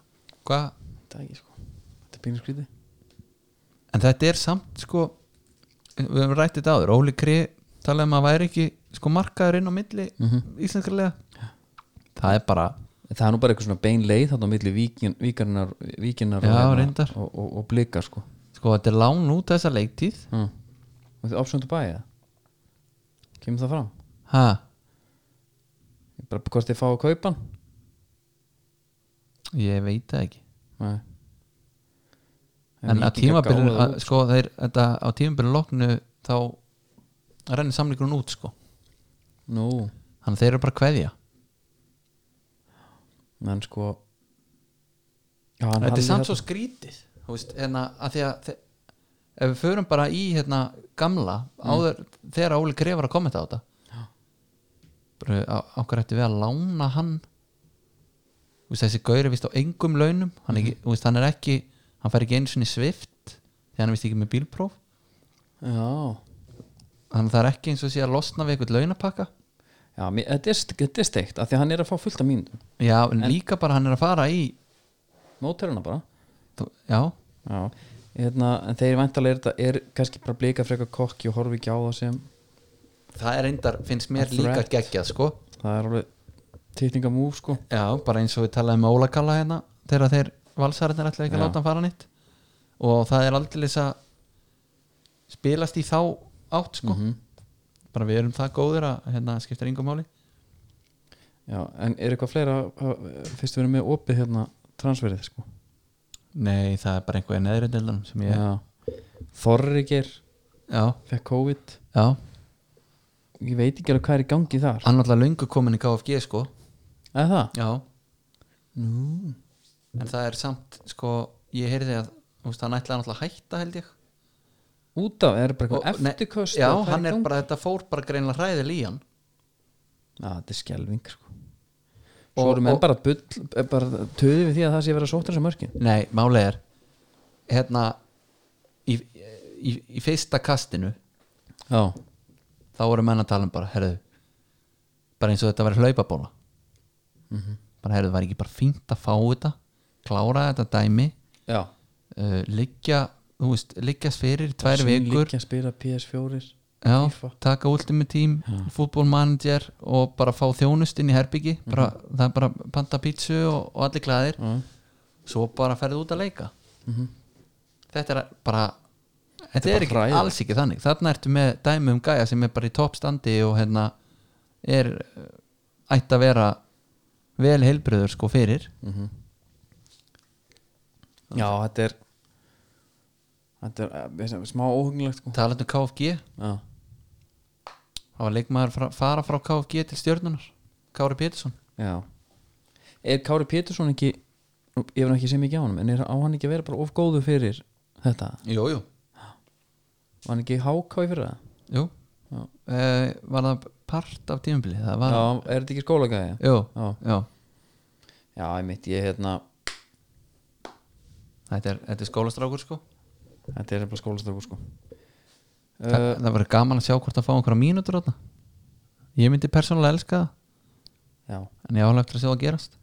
[SPEAKER 2] Hva?
[SPEAKER 1] þetta er ekki sko þetta er pínu skrítið
[SPEAKER 2] En þetta er samt sko Við höfum rætt þetta áður Óli Kri talaði um að væri ekki sko markaður inn á milli mm -hmm. Það er bara
[SPEAKER 1] það er nú bara eitthvað svona bein leið þarna á milli víkin, víkarnar, víkinnar
[SPEAKER 2] Já,
[SPEAKER 1] og, hérna-
[SPEAKER 2] reyndar.
[SPEAKER 1] og, og, og blika sko
[SPEAKER 2] Sko þetta er lán út þessa leiktíð
[SPEAKER 1] mm. og þetta er option to buy eða? kemur það fram
[SPEAKER 2] Ha?
[SPEAKER 1] Ég bara hvort þið fá að kaupa hann
[SPEAKER 2] Ég veit það ekki
[SPEAKER 1] Nei.
[SPEAKER 2] En á
[SPEAKER 1] Víkingar
[SPEAKER 2] tímabilinu
[SPEAKER 1] gáfu það
[SPEAKER 2] að-
[SPEAKER 1] út.
[SPEAKER 2] sko, þeir, þetta, á tímabilinu loknu þá rennir samlíkurinn út sko
[SPEAKER 1] nú,
[SPEAKER 2] Þannig að þeir eru bara að kveðja
[SPEAKER 1] menn sko já, hann
[SPEAKER 2] Þetta
[SPEAKER 1] Halli
[SPEAKER 2] er samt svo
[SPEAKER 1] þarna-
[SPEAKER 2] skrítið þú veist, hérna, að því að þe- ef við förum bara í hérna, gamla áður, þegar Óli Greif var að kommenta á þetta bara á- á okkur ætti við að lána hann þú veist, þessi gaur er vist á engum launum hann, ekki, þú veist, hann er ekki hann fær ekki einu sinni svift því hann er vist ekki með bílpróf
[SPEAKER 1] já,
[SPEAKER 2] þannig að það er ekki eins og sé að losna við eitthvað launapakka
[SPEAKER 1] já mér, þetta, er, st- þetta er steikt af því að hann er að fá fullt af mínum
[SPEAKER 2] já, en, líka bara hann er að fara í
[SPEAKER 1] mótæra hana bara
[SPEAKER 2] þú, já,
[SPEAKER 1] Já, hérna, en þeir væntalega er þetta er kannski bara blika frekar kokki og horfi ekki á það sem
[SPEAKER 2] það er reyndar finnst
[SPEAKER 1] A
[SPEAKER 2] mér líka
[SPEAKER 1] threat.
[SPEAKER 2] geggjað sko
[SPEAKER 1] það er alveg titningamúf sko
[SPEAKER 2] Já, bara eins og við talaðum með Óla Kalla hérna þegar þeir valsararnir ætlaði ekki að
[SPEAKER 1] Já.
[SPEAKER 2] láta hann fara nýtt og það er aldrei að spilast í þá Mhm. átt sko bara við erum það góðir að hérna skiptir yngum máli
[SPEAKER 1] Já, en er eitthvað fleira uh, fyrst við erum með opið hérna transferið sko
[SPEAKER 2] Nei, það er bara einhver í neðri deildanum sem ég
[SPEAKER 1] Já. Þorriger
[SPEAKER 2] Já,
[SPEAKER 1] fekk COVID
[SPEAKER 2] já
[SPEAKER 1] ég veit ekki alveg hvað er í gangi þar
[SPEAKER 2] Hann alltaf löngu komin í KFG sko
[SPEAKER 1] eða það?
[SPEAKER 2] Já En það er samt, sko, ég heyrði að Úst, hann ætlaði náttúrulega að hætta held ég
[SPEAKER 1] Út af, er bara
[SPEAKER 2] Og-
[SPEAKER 1] eitthvað
[SPEAKER 2] nei,
[SPEAKER 1] eftirköst
[SPEAKER 2] Já,
[SPEAKER 1] eða hvað
[SPEAKER 2] hann
[SPEAKER 1] í
[SPEAKER 2] er
[SPEAKER 1] gangi?
[SPEAKER 2] bara, þetta fór bara greinlega hræðil í hann
[SPEAKER 1] Já, þetta er skelving sko Svo
[SPEAKER 2] Og-
[SPEAKER 1] eru menn
[SPEAKER 2] og-
[SPEAKER 1] bara, bull, eh, bara töðu við því að það sé að vera sóttur sem mörkin
[SPEAKER 2] Nei, málið er Hérna Í, í, í fyrsta kastinu
[SPEAKER 1] Já,
[SPEAKER 2] þá voru menn að tala um bara, herðu bara eins og þetta væri hlaupabóla bara herðu, var ekki bara fínt að fá þetta klára þetta dæmi
[SPEAKER 1] já
[SPEAKER 2] uh, liggja, þú veist, liggjast fyrir í tvær vikur,
[SPEAKER 1] Líkja að spila PS4
[SPEAKER 2] já,
[SPEAKER 1] FIFA.
[SPEAKER 2] taka ultimate team fútbolmanager og bara fá þjónust inn í herbyggi, bara, það er bara panta pítsu og, og allir glæðir
[SPEAKER 1] Mhm. Já, Mhm.
[SPEAKER 2] svo bara ferðu út að leika þetta er bara þetta
[SPEAKER 1] er bara
[SPEAKER 2] er ekki,
[SPEAKER 1] hræðilegt.
[SPEAKER 2] alls ekki þannig þarna ertu með dæmi um gæja sem er bara í toppstandi og hérna er eh, ætti að vera vel heilbröður sko fyrir
[SPEAKER 1] já þetta er Þetta er eh, veist það, smá óhugnilegt sko
[SPEAKER 2] talandi um KFG,
[SPEAKER 1] Já,
[SPEAKER 2] það var leikmaður frá, fara frá KFG til stjörnunar Kári Pétursson
[SPEAKER 1] já Er Kári Pétursson ekki Ég var nú ekki sem ekki á hann En er á hann ekki að vera bara of góðu fyrir þetta
[SPEAKER 2] jú, jú,
[SPEAKER 1] Var hann ekki háká í fyrir það?
[SPEAKER 2] jú.
[SPEAKER 1] Já.
[SPEAKER 2] Eh, var það part af tímabili það var,
[SPEAKER 1] Já, er þetta ekki skólagæði?
[SPEAKER 2] jú,
[SPEAKER 1] Já,
[SPEAKER 2] já
[SPEAKER 1] já einmitt, ég hérna
[SPEAKER 2] þetta er, þetta er skólastrákur sko
[SPEAKER 1] Þetta er bara skólastofu sko
[SPEAKER 2] Þa,
[SPEAKER 1] uh,
[SPEAKER 2] það verður gaman að sjá hvort að fá einhverja mínútur þarna ég myndi persónulega elska það
[SPEAKER 1] Já,
[SPEAKER 2] en ég álega eftir að sjá að gerast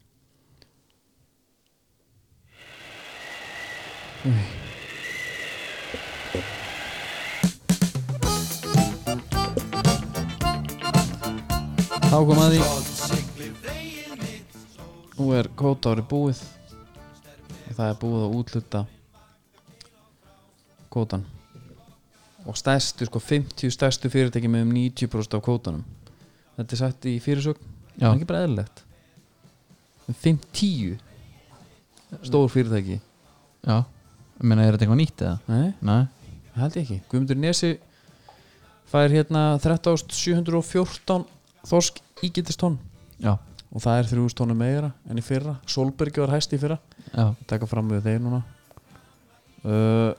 [SPEAKER 1] þá kom að því Nú er kótaári búið og það er búið að útluta kótan og stærstu, sko 50 stærstu fyrirtæki með um 90% af kótanum Þetta er sagt í fyrirsögn
[SPEAKER 2] Já.
[SPEAKER 1] það er ekki bara eðlilegt Um 50 stór fyrirtæki
[SPEAKER 2] já, ég meina er þetta eitthvað nýtt eða?
[SPEAKER 1] Nei
[SPEAKER 2] nei,
[SPEAKER 1] Það held ég ekki Guðmundur Nesi fær hérna 13.714 þorsk ígitistón
[SPEAKER 2] já,
[SPEAKER 1] og það er 3.000 tónum meira enn í fyrra Solbergi var hæst í fyrra
[SPEAKER 2] já,
[SPEAKER 1] Ég taka fram við þeir núna uh,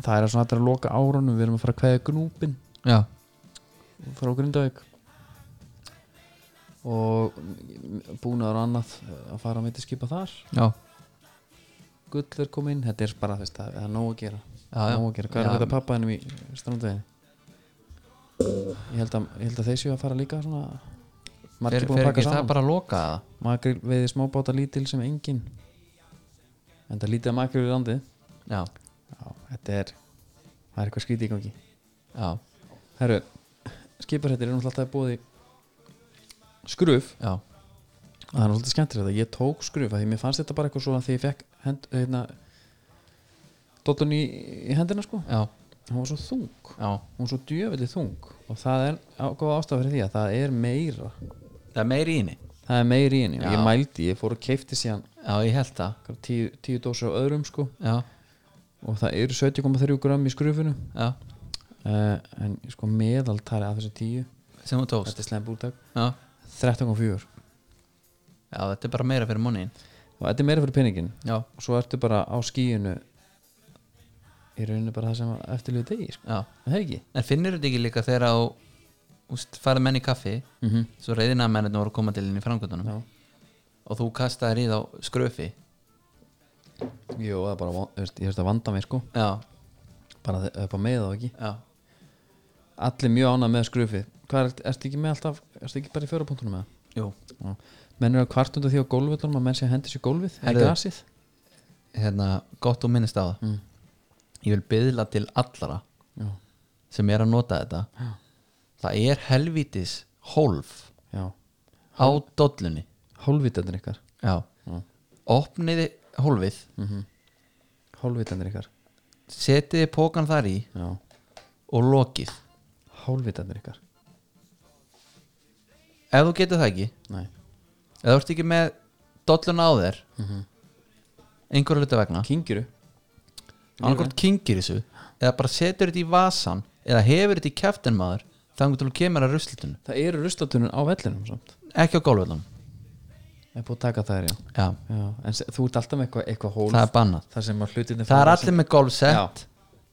[SPEAKER 1] Það er svona hægt að loka árunum við erum að fara að kveða gnúpin
[SPEAKER 2] já
[SPEAKER 1] frá Grindavík og búnaður og annað uh, að fara að mitt skipa þar
[SPEAKER 2] já,
[SPEAKER 1] gull er komið inn, þetta er bara þess að það er nóg að gera
[SPEAKER 2] já, já.
[SPEAKER 1] Nóg að gera. Hvað er
[SPEAKER 2] Já.
[SPEAKER 1] þetta pappa hennum í strandvegin? Ég held að, ég held að þeir séu að fara líka svona
[SPEAKER 2] fer,
[SPEAKER 1] margir búin
[SPEAKER 2] fer
[SPEAKER 1] að
[SPEAKER 2] ekki
[SPEAKER 1] pakka
[SPEAKER 2] það
[SPEAKER 1] saman bara...
[SPEAKER 2] bara að loka það
[SPEAKER 1] Makril veiði smábáta lítil sem engin En það lítið að makril í landið
[SPEAKER 2] já,
[SPEAKER 1] Já, þetta er Það er eitthvað skrítið í gangi
[SPEAKER 2] já,
[SPEAKER 1] Herru, skiparhættir er náttúrulega alltaf búið í skruf
[SPEAKER 2] já,
[SPEAKER 1] Það er náttúrulega skemmtir þetta Ég tók skruf að því mér fannst þetta bara eitthvað svo að því ég fekk hend, hérna, Dottun í, í hendina sko
[SPEAKER 2] já,
[SPEAKER 1] Hún var svo þung
[SPEAKER 2] já
[SPEAKER 1] hún er svo djöfelli þung og það er á- góð ástæða fyrir því að það er meira
[SPEAKER 2] það er meiri í henni
[SPEAKER 1] það er meira í henni og
[SPEAKER 2] Já.
[SPEAKER 1] ég mældi, ég fór og keipti síðan
[SPEAKER 2] já, ég held það
[SPEAKER 1] einhverjar tíu, tíu dósir á öðrum sko
[SPEAKER 2] já,
[SPEAKER 1] og það eru 70,3 gram í skrufinu
[SPEAKER 2] já,
[SPEAKER 1] uh, en sko meðaltari af þessu tíu
[SPEAKER 2] sem þú tókst
[SPEAKER 1] þetta er slemm búrtak
[SPEAKER 2] já,
[SPEAKER 1] 13,4
[SPEAKER 2] já, þetta er bara meira fyrir munnin
[SPEAKER 1] og þetta er meira fyrir peningin
[SPEAKER 2] já,
[SPEAKER 1] og svo ertu bara á skíinu í rauninu bara það sem eftirlið degi sko.
[SPEAKER 2] já
[SPEAKER 1] Er það ekki
[SPEAKER 2] En finnir þetta ekki líka þegar á úst, farið menn í kaffi
[SPEAKER 1] mm -hmm.
[SPEAKER 2] svo reyðina mennirna voru að koma til inn í framgöndunum
[SPEAKER 1] Já.
[SPEAKER 2] og þú kastaðir í þá skröfi
[SPEAKER 1] Jú, það er bara, von- þú veist, ég veist að vanda mig sko
[SPEAKER 2] já,
[SPEAKER 1] bara þe- upp á meða og ekki
[SPEAKER 2] já,
[SPEAKER 1] allir mjög ánað með skrufið hvað er, ertu ekki með alltaf, ertu ekki bara í fjórapunktunum með
[SPEAKER 2] jú
[SPEAKER 1] það? menn eru að kvartunda því á gólvöldunum að menn sé að hendi sér í gólfið eða
[SPEAKER 2] Herðu.
[SPEAKER 1] grasið
[SPEAKER 2] hérna, gott og minnist á það
[SPEAKER 1] Mm.
[SPEAKER 2] ég vil byðla til allara
[SPEAKER 1] já,
[SPEAKER 2] sem er að nota þetta
[SPEAKER 1] Já.
[SPEAKER 2] það er helvítis hólf
[SPEAKER 1] já,
[SPEAKER 2] á dollunni
[SPEAKER 1] hálfvitandir ykkar
[SPEAKER 2] já,
[SPEAKER 1] Já.
[SPEAKER 2] opniði hólfið
[SPEAKER 1] mm -hmm. hálfvitandir ykkar
[SPEAKER 2] setiði pókan þar í
[SPEAKER 1] já,
[SPEAKER 2] og lokið
[SPEAKER 1] hálfvitandir ykkar
[SPEAKER 2] ef þú getur það ekki
[SPEAKER 1] Nei.
[SPEAKER 2] ef þú ert ekki með dolluna á þér mm einhverju hluta vegna
[SPEAKER 1] Kinguru
[SPEAKER 2] annarkort kynkir þessu eða bara setur þetta í vasan eða hefur þetta í kæftin maður þannig til þú kemur að ruslutun
[SPEAKER 1] Það eru ruslatunum á vellinum samt
[SPEAKER 2] ekki á gólfvöldum
[SPEAKER 1] Það er búið að taka þær, já,
[SPEAKER 2] Já,
[SPEAKER 1] já. En se- þú ert alltaf með eitthvað, eitthvað hólf
[SPEAKER 2] það er bannað
[SPEAKER 1] Þar sem að hlutinni
[SPEAKER 2] það er allir með
[SPEAKER 1] Já.
[SPEAKER 2] golfsett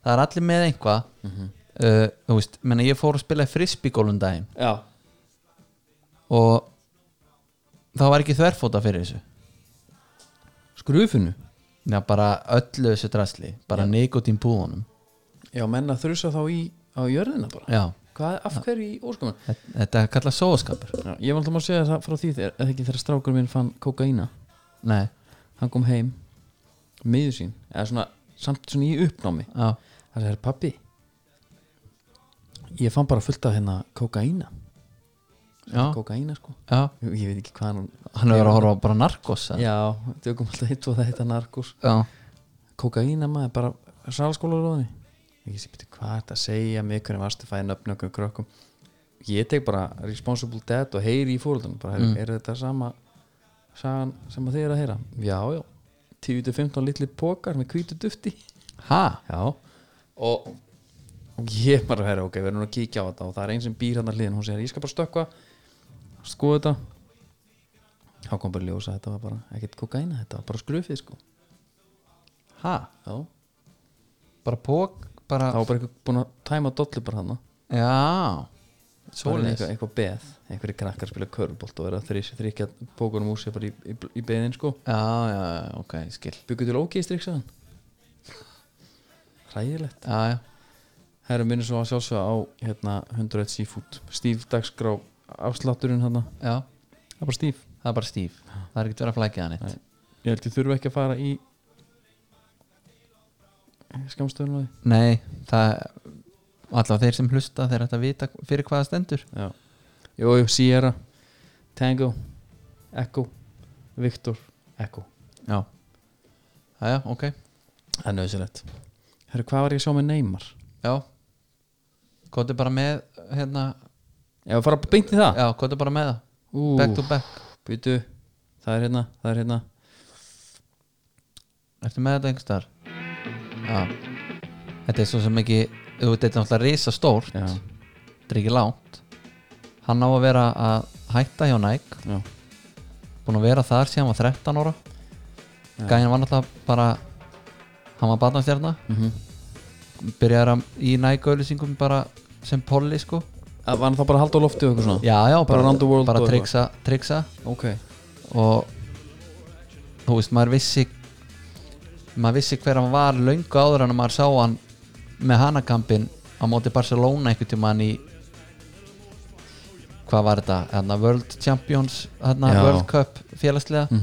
[SPEAKER 2] það er allir með einhvað uh, þú veist, menna ég fór að spila frisbygólfum daginn
[SPEAKER 1] Já,
[SPEAKER 2] og það var ekki þverfóta fyrir þessu
[SPEAKER 1] skrufinu
[SPEAKER 2] Já, bara öllu þessu drasli bara nikotín búðunum
[SPEAKER 1] Já, menna þrusa þá í, á jörðina bara
[SPEAKER 2] Já,
[SPEAKER 1] Hvað, af hverju í óskumann
[SPEAKER 2] þe- þetta er kallað sóaskapur
[SPEAKER 1] Já, ég var alltaf að segja það frá því þegar, eða ekki þegar strákur minn fann kokaína
[SPEAKER 2] Nei,
[SPEAKER 1] hann kom heim miður sín, eða svona samt svona í uppnámi
[SPEAKER 2] já,
[SPEAKER 1] það segir pappi ég fann bara fullt af hérna kokaína
[SPEAKER 2] já,
[SPEAKER 1] kokaína sko,
[SPEAKER 2] já
[SPEAKER 1] ég, ég veit ekki hvað hann
[SPEAKER 2] Hann er að horfa á bara narkos eða?
[SPEAKER 1] já, tökum alltaf hitt og það heita narkos
[SPEAKER 2] já,
[SPEAKER 1] kokaína maður, bara salskólaróðinni ég sé betur hvað er þetta að segja mig hvernig varstu fæðin öfn okkur krökkum ég tek bara responsible dead og heyri í fórhaldunum bara, mm. er þetta sama sagan sem að þið er að heyra já, já, 10-15 litli pokar með hvítu dufti
[SPEAKER 2] ha,
[SPEAKER 1] já, og og ég bara herra, ok, við erum nú að kíkja á þetta og það er einn sem býr hann að hliðin, hún segir ég skal bara stökkva, skoða þetta þá kom bara í ljós að þetta var bara ekkert kokaina, þetta var bara skrufið sko,
[SPEAKER 2] ha
[SPEAKER 1] já
[SPEAKER 2] Bara pók, bara
[SPEAKER 1] Það var bara eitthvað búin að tæma dollu bara hann
[SPEAKER 2] Já,
[SPEAKER 1] eitthvað,
[SPEAKER 2] svoleiðis
[SPEAKER 1] eitthvað beð, einhverju krakkar spila körbolt og er að þrýs, þrýkja bókunum úr sér bara í, í, í beðin sko
[SPEAKER 2] Já, já, já, ok, ég skil
[SPEAKER 1] Byggur til ógeistrik sagðan Hræðilegt
[SPEAKER 2] Já, já,
[SPEAKER 1] Herra minnur svo að sjálfsögða á hérna, 101 Seafood Stíf dagskrá afslátturinn hann
[SPEAKER 2] já,
[SPEAKER 1] Það er bara stíf
[SPEAKER 2] það er bara stíf Það er ekkert verið að flækja það neitt
[SPEAKER 1] Nei. Ég held ég þurfa ekki að fara í skamstöðun á því
[SPEAKER 2] Nei, það allavega þeir sem hlusta þeir ætti að vita fyrir hvaða stendur
[SPEAKER 1] Já Jó, jú, Sierra Tango Echo Victor Echo
[SPEAKER 2] Já, já, já, ok
[SPEAKER 1] Það er nöðsilegt Herru, hvað var ég að sjá með Neymar?
[SPEAKER 2] Já Kóti bara með hérna
[SPEAKER 1] Ég var að fara að beinti það
[SPEAKER 2] Já, kóti bara með það
[SPEAKER 1] Ú,
[SPEAKER 2] Back to back
[SPEAKER 1] býtu Það er hérna, það er hérna
[SPEAKER 2] Ertu með þetta einhvers þar? Já Þetta er svo sem ekki Þú veit, þetta er náttúrulega risa stórt
[SPEAKER 1] Já,
[SPEAKER 2] Þetta er ekki langt Hann á að vera að hætta hjá Nike
[SPEAKER 1] já,
[SPEAKER 2] Búin að vera þar síðan hann var 13 ára Gæðin var náttúrulega bara Hann var barnastjarna
[SPEAKER 1] mm
[SPEAKER 2] Byrjaði að í Nike auðlýsingum bara sem polli sko
[SPEAKER 1] Var hann þá bara að halda á lofti og eitthvað svona?
[SPEAKER 2] Já, já, bara,
[SPEAKER 1] around the world
[SPEAKER 2] bara
[SPEAKER 1] og
[SPEAKER 2] triksa, triksa
[SPEAKER 1] Ok
[SPEAKER 2] og þú veist, maður vissi maður vissi hver hann var löngu áður en að maður sá hann með hanakampin á móti Barcelona einhvern tímann í hvað var þetta, hérna World Champions hérna
[SPEAKER 1] Já.
[SPEAKER 2] World Cup félagslega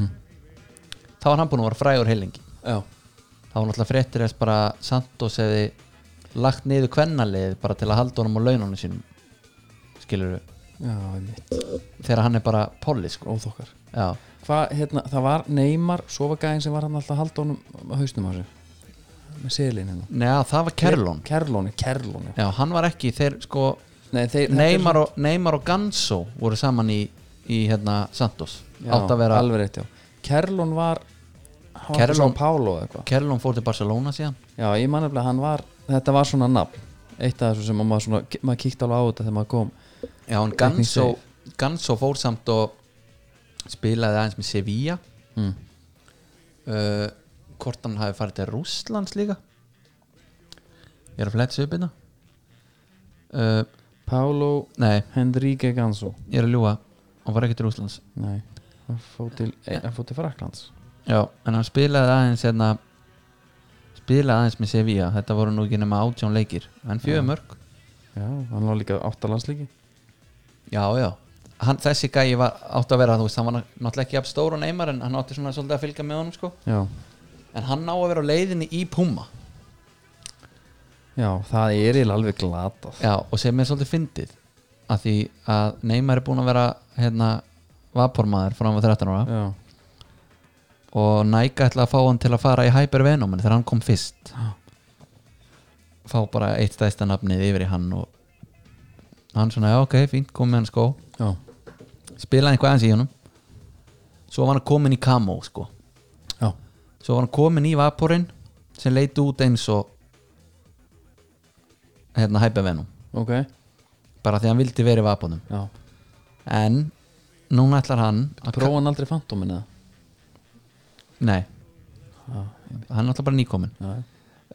[SPEAKER 2] þá var hann búin að vera frægur heilingi
[SPEAKER 1] Já
[SPEAKER 2] þá var náttúrulega fréttir þess bara Santos hefði lagt niður kvennalið bara til að halda honum á laununum sínum skilur
[SPEAKER 1] Já, einmitt
[SPEAKER 2] þegar hann er bara polli sko
[SPEAKER 1] Óþokkar
[SPEAKER 2] já,
[SPEAKER 1] Hvað, hérna, það var Neymar Svo var gæðin sem var hann alltaf að halda honum á hausnum á sig Með selin hérna
[SPEAKER 2] neða það var Kerlon
[SPEAKER 1] Kerlóni, Kerlóni
[SPEAKER 2] Já, hann var ekki, þeir sko
[SPEAKER 1] Nei, þeir
[SPEAKER 2] Neymar og, Neymar og Ganso voru saman í, í hérna Santos
[SPEAKER 1] Já,
[SPEAKER 2] átt að vera,
[SPEAKER 1] Alveg rétt, já Kerlón var hann var frá
[SPEAKER 2] Kerlon-
[SPEAKER 1] São Paulo eða eitthvað
[SPEAKER 2] Kerlon fór til Barcelona síðan
[SPEAKER 1] Já, ég man nefnilega að hann var, þetta var svona nafn eitt af þessu sem að maður svona, maður kíkti alveg á þetta þegar maður kom
[SPEAKER 2] Já, en Ganso, Ganso fór samt og spilaði aðeins með Sevilla
[SPEAKER 1] Mm.
[SPEAKER 2] uh, hvort hann hafi farið til Rússlands líka ég er að fletsa upp hérna uh,
[SPEAKER 1] Paulo
[SPEAKER 2] nei,
[SPEAKER 1] Henrique Ganso
[SPEAKER 2] ég er að ljúga hann var ekki til Rússlands
[SPEAKER 1] Nei, hann fór til, eh, hann fór til Fraklands
[SPEAKER 2] Já, en hann spilaði aðeins hérna, spilaði aðeins með Sevilla þetta voru nú ekki nema átján leikir en fjögur mörg
[SPEAKER 1] Já, hann var líka áttalandsleiki
[SPEAKER 2] Já, já hann, Þessi gæi var átt að vera þú veist, hann var ná- náttúrulega ekki jafn stór og neymar en hann átti svona svolítið að fylgja með honum sko
[SPEAKER 1] Já,
[SPEAKER 2] en hann á að vera á leiðinni í Puma
[SPEAKER 1] já, það er eiginlega alveg glatað
[SPEAKER 2] Já, og sem er svolítið fyndið að því að neymar er búin að vera hérna vapormaður frá hann var 13 ára
[SPEAKER 1] Já,
[SPEAKER 2] og Nike ætlaði að fá hann til að fara í Hypervenom en þegar hann kom fyrst fá bara eitt stæðsta nafnið yfir í hann og hann svona, já ok, fínt, kom með hann skó
[SPEAKER 1] já,
[SPEAKER 2] sko." spilaði eitthvað aðeins í honum svo var hann komin í Camo sko.
[SPEAKER 1] já,
[SPEAKER 2] svo var hann komin í Vaporin sem leiti út eins og hérna Hypervenum
[SPEAKER 1] ok
[SPEAKER 2] bara því hann vildi verið Vaporinum
[SPEAKER 1] já.
[SPEAKER 2] en núna ætlar hann að
[SPEAKER 1] prófa hann aldrei fantómin eða
[SPEAKER 2] nei,
[SPEAKER 1] Já,
[SPEAKER 2] hann er alltaf bara nýkomin
[SPEAKER 1] já,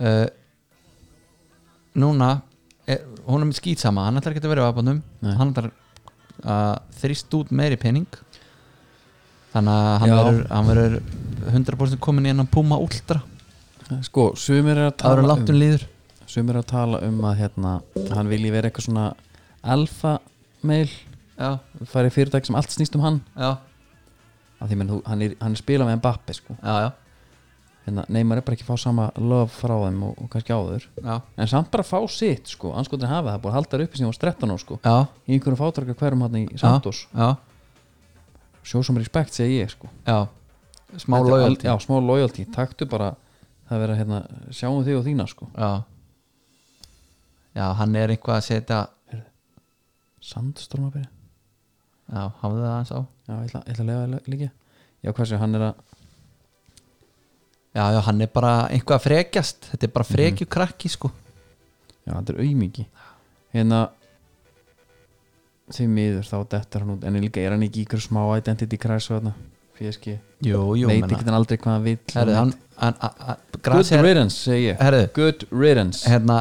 [SPEAKER 2] uh, núna er, hún er skýtsama, hann ætlar ekki að vera vapandum
[SPEAKER 1] Nei.
[SPEAKER 2] hann ætlar að þrýst út meiri pening þannig að hann
[SPEAKER 1] Já.
[SPEAKER 2] verður- hann verður 100% komin í hennan Puma Ultra
[SPEAKER 1] já. sko, sumir er að
[SPEAKER 2] það verður
[SPEAKER 1] tala
[SPEAKER 2] langt um líður
[SPEAKER 1] um sumir er að tala um að hérna hann vilji vera eitthvað svona alfa mail,
[SPEAKER 2] já,
[SPEAKER 1] farið fyrirtæk sem allt snýst um hann
[SPEAKER 2] já,
[SPEAKER 1] af því menn þú, hann er, hann er spilað með Mbappi sko,
[SPEAKER 2] já, já,
[SPEAKER 1] hérna, neymar er bara ekki að fá sama love frá þeim og, og kannski áður
[SPEAKER 2] já,
[SPEAKER 1] en samt bara að fá sitt sko, anskotin hafa það búið að halda þær uppi sem var 13 á sko
[SPEAKER 2] já,
[SPEAKER 1] í einhverjum fátraka hverjum hann í Santos
[SPEAKER 2] já,
[SPEAKER 1] show some respect segi ég sko
[SPEAKER 2] já. smá
[SPEAKER 1] Þetta er
[SPEAKER 2] loyalty
[SPEAKER 1] al- já, smá loyalty, taktu bara það vera hérna, sjáum þig og þína sko
[SPEAKER 2] já. já, hann er eitthvað að setja
[SPEAKER 1] Sandstorm að byrja,
[SPEAKER 2] já, hafði það aðeins á
[SPEAKER 1] já, ég ætla, ég ætla að lega líka já, hvað sé, hann er að
[SPEAKER 2] já, já, hann er bara eitthvað að frekjast þetta er bara frekju krakki sko
[SPEAKER 1] já, þetta er auðmiki hérna því miður þá dettur hann út en líka er hann ekki í ykkur smá identity crash þarna, PSG,
[SPEAKER 2] jú, jú,
[SPEAKER 1] veit
[SPEAKER 2] menna-
[SPEAKER 1] ekki hann aldrei hvað hann vill
[SPEAKER 2] Herðu, hann, hann, hann gras
[SPEAKER 1] good
[SPEAKER 2] er,
[SPEAKER 1] riddance, segi ég
[SPEAKER 2] herðu,
[SPEAKER 1] good riddance
[SPEAKER 2] hérna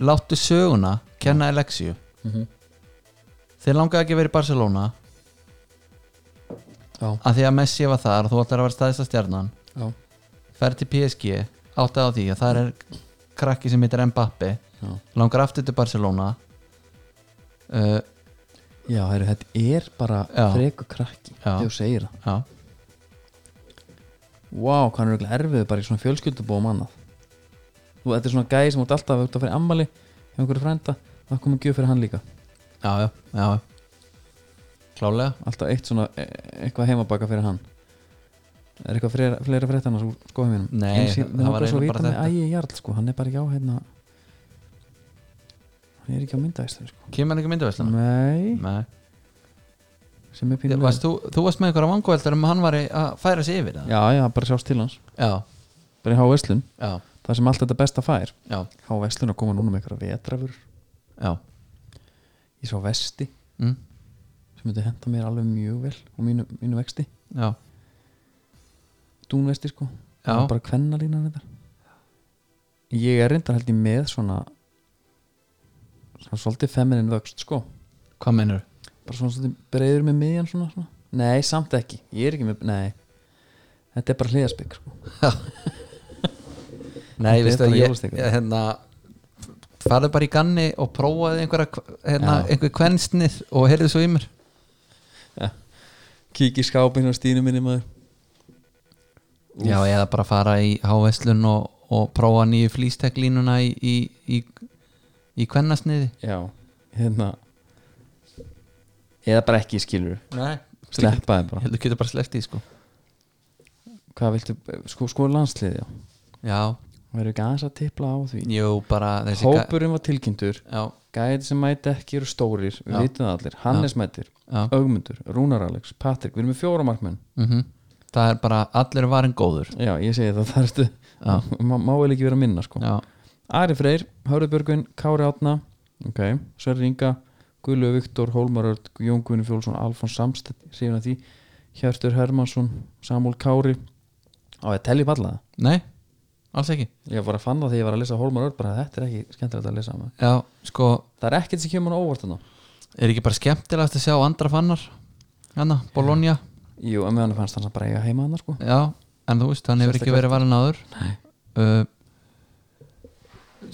[SPEAKER 2] láttu söguna, kenna Alexíu
[SPEAKER 1] Mhm.
[SPEAKER 2] þeir langaði ekki að vera í Barcelona
[SPEAKER 1] já,
[SPEAKER 2] að því að Messi var þar og þú ætlar að vera staðista stjarnan
[SPEAKER 1] já,
[SPEAKER 2] fer til PSG, áttað á því að þar er krakki sem heitir Mbappi
[SPEAKER 1] já
[SPEAKER 2] langar aftur til Barcelona uh,
[SPEAKER 1] Já, heru, þetta er bara
[SPEAKER 2] Já.
[SPEAKER 1] freku krakki
[SPEAKER 2] Já.
[SPEAKER 1] þegar þú segir það
[SPEAKER 2] já,
[SPEAKER 1] Vá, wow, hvað hann er örugglega erfiður bara í svona fjölskyldubóum annað Þú, þetta er svona gæði sem út alltaf út að fyrir ammali hjá einhverju frænda, það komið gjöf fyrir hann líka
[SPEAKER 2] já, já, já já. klálega
[SPEAKER 1] Alltaf eitt svona, e eitthvað heimabaka fyrir hann Er eitthvað fleira, fleira frétt annars úr skoðum mínum?
[SPEAKER 2] Nei,
[SPEAKER 1] Eins í-
[SPEAKER 2] það-
[SPEAKER 1] mig
[SPEAKER 2] það
[SPEAKER 1] langar
[SPEAKER 2] var
[SPEAKER 1] svo að
[SPEAKER 2] eiginlega
[SPEAKER 1] vita
[SPEAKER 2] bara
[SPEAKER 1] með
[SPEAKER 2] þetta.
[SPEAKER 1] Ægi Jarl, sko, hann er bara ekki á hérna Hann er ekki á myndaðislega, sko
[SPEAKER 2] kemur hann ekki myndavæslan?
[SPEAKER 1] Nei,
[SPEAKER 2] Nei.
[SPEAKER 1] sem er pínum
[SPEAKER 2] Varst, þú, þú varst með ykkur á vanguveldur um að hann var að færa sig yfir það?
[SPEAKER 1] Já, já, bara sjást til hans
[SPEAKER 2] já,
[SPEAKER 1] Bara í háveslun,
[SPEAKER 2] já,
[SPEAKER 1] það sem allt þetta besta fær
[SPEAKER 2] já,
[SPEAKER 1] Háveslun að koma núna með eitthvað vetrafur
[SPEAKER 2] já.
[SPEAKER 1] Ég sá vesti
[SPEAKER 2] Mm.
[SPEAKER 1] sem myndi henda mér alveg mjög vel og mínu, mínu vexti,
[SPEAKER 2] já,
[SPEAKER 1] dúnvesti sko
[SPEAKER 2] Já.
[SPEAKER 1] Það var bara kvennalínan þetta ég er reyndar held ég með svona svona svolítið feminin vöxt sko
[SPEAKER 2] hvað mennur?
[SPEAKER 1] bara svona svolítið breyður með miðjan svona, svona nei, samt ekki, ég er ekki með nei, þetta er bara hliðarsbygg sko
[SPEAKER 2] Nei,
[SPEAKER 1] Þetta
[SPEAKER 2] veistu
[SPEAKER 1] er
[SPEAKER 2] að
[SPEAKER 1] bara
[SPEAKER 2] ég,
[SPEAKER 1] jólasteikar.
[SPEAKER 2] ég hérna farðu bara í ganni og prófaði einhverja kv- hérna,
[SPEAKER 1] Já.
[SPEAKER 2] einhver kvensnið og heyrðu svo í mér
[SPEAKER 1] kík í skápin og stínu minni maður
[SPEAKER 2] Já, eða bara fara í háveslun og, og prófa nýju flýsteklínuna í, í, í, í kvennasniði
[SPEAKER 1] já, hérna eða bara ekki skilur
[SPEAKER 2] Nei, slepp
[SPEAKER 1] sleppaði bara,
[SPEAKER 2] Þú getur bara sleppt í sko
[SPEAKER 1] hvað viltu sko, sko landsliði, já,
[SPEAKER 2] Já,
[SPEAKER 1] verður ekki aðeins að tipla á því
[SPEAKER 2] jú, bara þessi ga-
[SPEAKER 1] Hópurinn var tilkynntur
[SPEAKER 2] Já,
[SPEAKER 1] Gæðið sem mæti ekki eru stórir Við
[SPEAKER 2] Já.
[SPEAKER 1] vitum það allir, Hannes mætir
[SPEAKER 2] já,
[SPEAKER 1] Ögmundur, Rúnar Alex, Patrik, við erum með fjóra markmenn
[SPEAKER 2] mhm Það er bara, allir er varin góður
[SPEAKER 1] Já, ég segi það, það ertu má, má eiginlega ekki vera að minna sko
[SPEAKER 2] Já,
[SPEAKER 1] Ari Freyr, Hörðubjörgun, Kári Átna Ok, Sverri Inga Guðlu Viktor, Hólmar Örd, Jón Guðni Fjólfsson Alfons Samstedt, síðan að því Hjartur Hermansson, Samúl Kári Á, ég telli upp alla það
[SPEAKER 2] nei, alls ekki
[SPEAKER 1] Ég var að fann það þegar ég var að lesa Hólmar Örd bara þetta er ekki skemmtilegt að lesa maður.
[SPEAKER 2] Já, sko,
[SPEAKER 1] Það er ekkert sem kemur á óvart þannig
[SPEAKER 2] er ekki bara skemmtilegast að sjá andra fannar Hanna, Bologna
[SPEAKER 1] Jú, en meðan fannst hann samt bara eiga heima hann sko.
[SPEAKER 2] Já, en þú veist, hann hefur ekki
[SPEAKER 1] Sérstaklega
[SPEAKER 2] verið valin áður uh,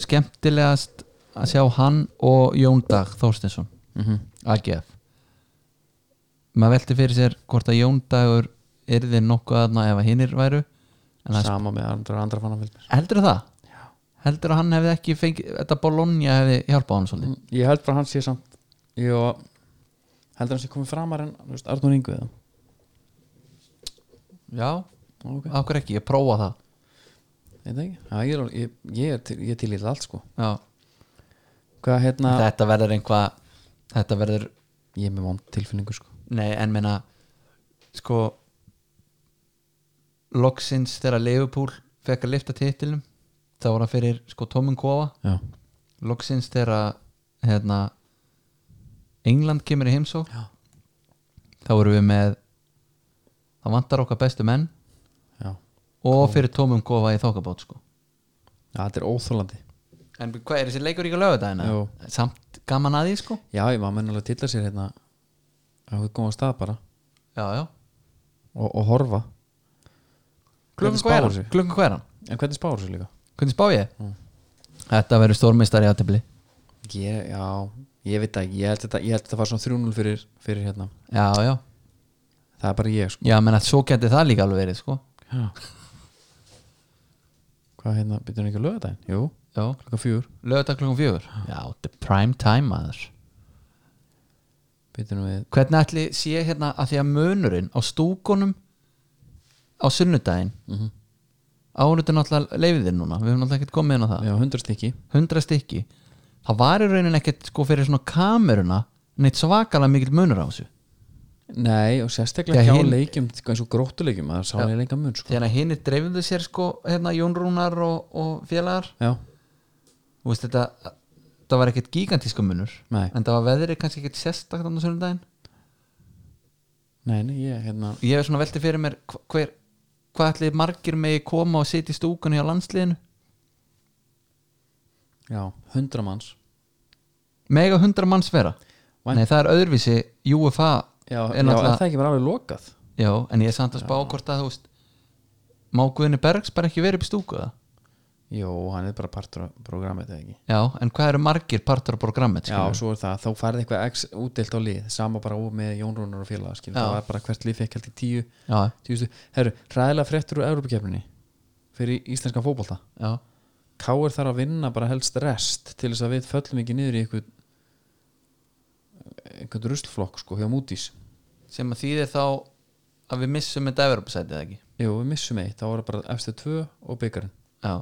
[SPEAKER 2] Skemmtilegast að sjá hann og Jón Dag Þórstinsson,
[SPEAKER 1] mm
[SPEAKER 2] AGF Maður velti fyrir sér hvort að Jón Dagur yrði nokkuð aðna ef að hinnir væru en það
[SPEAKER 1] sama með andra, andra fannafylgir
[SPEAKER 2] heldur það? Já. Heldur að hann hefði ekki fengið, þetta Bologna hefði hjálpað hann svolítið?
[SPEAKER 1] Mm, ég held bara hans sé samt ég og- heldur hann sé komið framar en þú veist, Arnur Ingu eða
[SPEAKER 2] Mm, Já,
[SPEAKER 1] ok,
[SPEAKER 2] af hverju ekki, ég prófa það
[SPEAKER 1] eitthvað ekki Já, ég, er, alveg- ég, ég, er til, ég er til í þetta allt sko
[SPEAKER 2] Já,
[SPEAKER 1] hvað hérna,
[SPEAKER 2] þetta verður einhvað þetta verður
[SPEAKER 1] ég er með vond tilfinningu sko
[SPEAKER 2] Nei, en meina sko loksins þegar Leifupúl fekk að lifta titilum þá var það fyrir sko Tómin Kofa
[SPEAKER 1] já,
[SPEAKER 2] loksins þegar hérna, England kemur í heimsók
[SPEAKER 1] Já.
[SPEAKER 2] þá erum við með það vantar okkar bestu menn
[SPEAKER 1] já.
[SPEAKER 2] og fyrir Tómin Kofa í þokkabót sko.
[SPEAKER 1] Já, þetta er óþólandi
[SPEAKER 2] en hvað er þessi leikur ekki að lögu dagina?
[SPEAKER 1] Jú.
[SPEAKER 2] samt gaman að því sko
[SPEAKER 1] Já, ég var menn alveg að tilla sér hérna að við komum á stað bara
[SPEAKER 2] já, já.
[SPEAKER 1] og, og horfa Hvernig
[SPEAKER 2] klukkan hvað er
[SPEAKER 1] spáir
[SPEAKER 2] hann?
[SPEAKER 1] þessu?
[SPEAKER 2] Klukkan hvað er hann?
[SPEAKER 1] En hvernig spáur þessu líka?
[SPEAKER 2] hvernig spá ég? þetta verður stórmeistari aðtefli
[SPEAKER 1] Ég, já, ég veit það ekki Ég held þetta, ég held þetta var svona 3-0 fyrir, fyrir hérna
[SPEAKER 2] já, já,
[SPEAKER 1] Það er bara ég sko
[SPEAKER 2] já, menn að svo geti það líka alveg verið sko
[SPEAKER 1] já. Hvað hérna, byrjum við ekki að löga það? Jú,
[SPEAKER 2] já,
[SPEAKER 1] klokka fjúr
[SPEAKER 2] lögða klukkan fjögur já, þetta er prime time maður
[SPEAKER 1] Byrjum við,
[SPEAKER 2] hvernig ætli sé hérna að því að munurinn á stúkunum á sunnudaginn mm -hmm. árið er náttúrulega leifiðir núna við höfum náttúrulega ekkert komið inn á það
[SPEAKER 1] já, 100 stykki
[SPEAKER 2] 100 stykki, það var í raunin ekkert sko fyrir svona kameruna neitt svakalega mikill munur á þessu
[SPEAKER 1] Nei, og sérstaklega
[SPEAKER 2] Þegar
[SPEAKER 1] hjá
[SPEAKER 2] hin-
[SPEAKER 1] leikjum sko, eins og gróttuleikjum, það er sálega leika mun sko.
[SPEAKER 2] þegar að hinnir dreifðu sér sko hérna Jón Rúnar og, og félagar
[SPEAKER 1] Já,
[SPEAKER 2] Þú veist, þetta, það var ekkert gigantísku munur
[SPEAKER 1] Nei.
[SPEAKER 2] en það var veðrið kannski ekkert sérstakt á sunnudaginn
[SPEAKER 1] nei, nei, ég hérna
[SPEAKER 2] ég er svona velti fyrir mér hva- hver, hvað ætli margir megi koma og sitja í stúkunni á landsliðinu
[SPEAKER 1] Já, 100 manns
[SPEAKER 2] mega hundra manns vera
[SPEAKER 1] Vænt-
[SPEAKER 2] Nei, það er öðruvísi UFA
[SPEAKER 1] Já, já
[SPEAKER 2] er
[SPEAKER 1] en
[SPEAKER 2] náttúrulega-
[SPEAKER 1] það ekki var alveg lokað
[SPEAKER 2] já, en ég er samt að spá hvort að þú veist má Guðni Bergs bara ekki verið upp í stúku það
[SPEAKER 1] Jó, hann er bara partur af programmið eða ekki
[SPEAKER 2] já, en hvað eru margir partur á programmet
[SPEAKER 1] Já, svo er það, þá færði eitthvað x útdelt á lið sama bara og með Jón Rúnar og félaga skilur.
[SPEAKER 2] Já.
[SPEAKER 1] það var bara hvert lið fekk held í tíu,
[SPEAKER 2] já,
[SPEAKER 1] tíu stu. Herru, hræðilega fréttur úr Európa-kefninni fyrir íslenskan fótbolta
[SPEAKER 2] já,
[SPEAKER 1] Káir þarf að vinna bara helst rest til þess að við föllum ekki niður í einhvern einhvern ruslflokk sko hjá Mútís
[SPEAKER 2] sem að þýðir þá að við missum þetta Evropasætið ekki
[SPEAKER 1] Jú, við missum eitt, þá voru bara efstu tvö og byggarinn
[SPEAKER 2] já,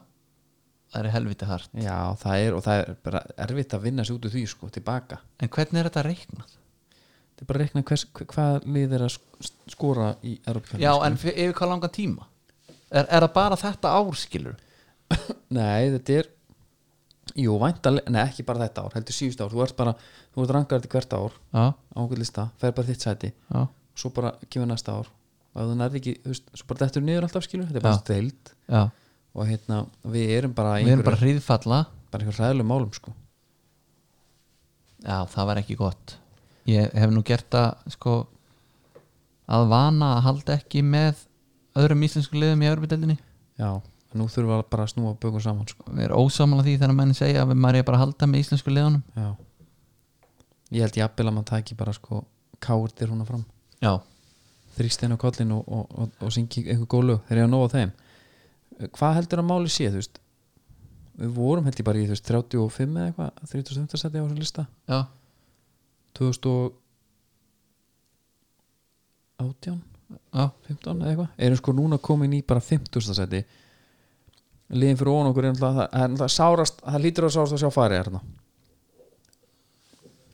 [SPEAKER 2] það er helviti hart
[SPEAKER 1] Já, það er, og það er bara erfitt að vinna sér út úr því sko, tilbaka
[SPEAKER 2] en hvernig er þetta reiknað?
[SPEAKER 1] Þetta er bara að rekna hvers, hve- hvað lið er að sk- skora í Európa
[SPEAKER 2] já, en fyr- yfir hvað langan tíma? Er, er það bara þetta ár skilur?
[SPEAKER 1] Nei, þetta er Jú, væntalega, nei ekki bara þetta ár, heldur síðust ár Þú ert bara, þú ert rangar þetta hvert ár
[SPEAKER 2] já,
[SPEAKER 1] á okkur lista, fer bara þitt sæti
[SPEAKER 2] já,
[SPEAKER 1] svo bara kemur næsta ár og ef þú nærði ekki, þú veist, svo bara þetta er niður alltaf skilur þetta er bara
[SPEAKER 2] Já.
[SPEAKER 1] steild
[SPEAKER 2] já
[SPEAKER 1] og hérna, við erum bara í
[SPEAKER 2] við erum bara
[SPEAKER 1] einhverju-
[SPEAKER 2] hríðfalla
[SPEAKER 1] bara einhverjum ræðilegum málum sko
[SPEAKER 2] Já, það var ekki gott Ég hef nú gert að sko að vana að halda ekki með öðrum íslensku liðum í Európa-deldinni
[SPEAKER 1] Já, nú þurfum við bara að snúa bökum saman sko
[SPEAKER 2] Við erum ósamála því þegar menn segja að maður er bara að halda með íslensku liðunum
[SPEAKER 1] Já Ég held jafnvel að maður tæki bara sko káurtir húnna fram
[SPEAKER 2] Já,
[SPEAKER 1] þrýstein á kollin og, og, og, og syngi einhver gólu þegar ég að nóga þeim hvað heldur að máli sé þú veist við vorum held ég bara í þú veist 35 eða eitthvað 35. seti á þessum lista
[SPEAKER 2] já,
[SPEAKER 1] 2018
[SPEAKER 2] já,
[SPEAKER 1] 15 eða eitthvað erum sko núna komin í bara 50. seti liðin fyrir ón okkur er náttúrulega- það það er náttúrulega sárast það lítur að sárast að sjá farið hérna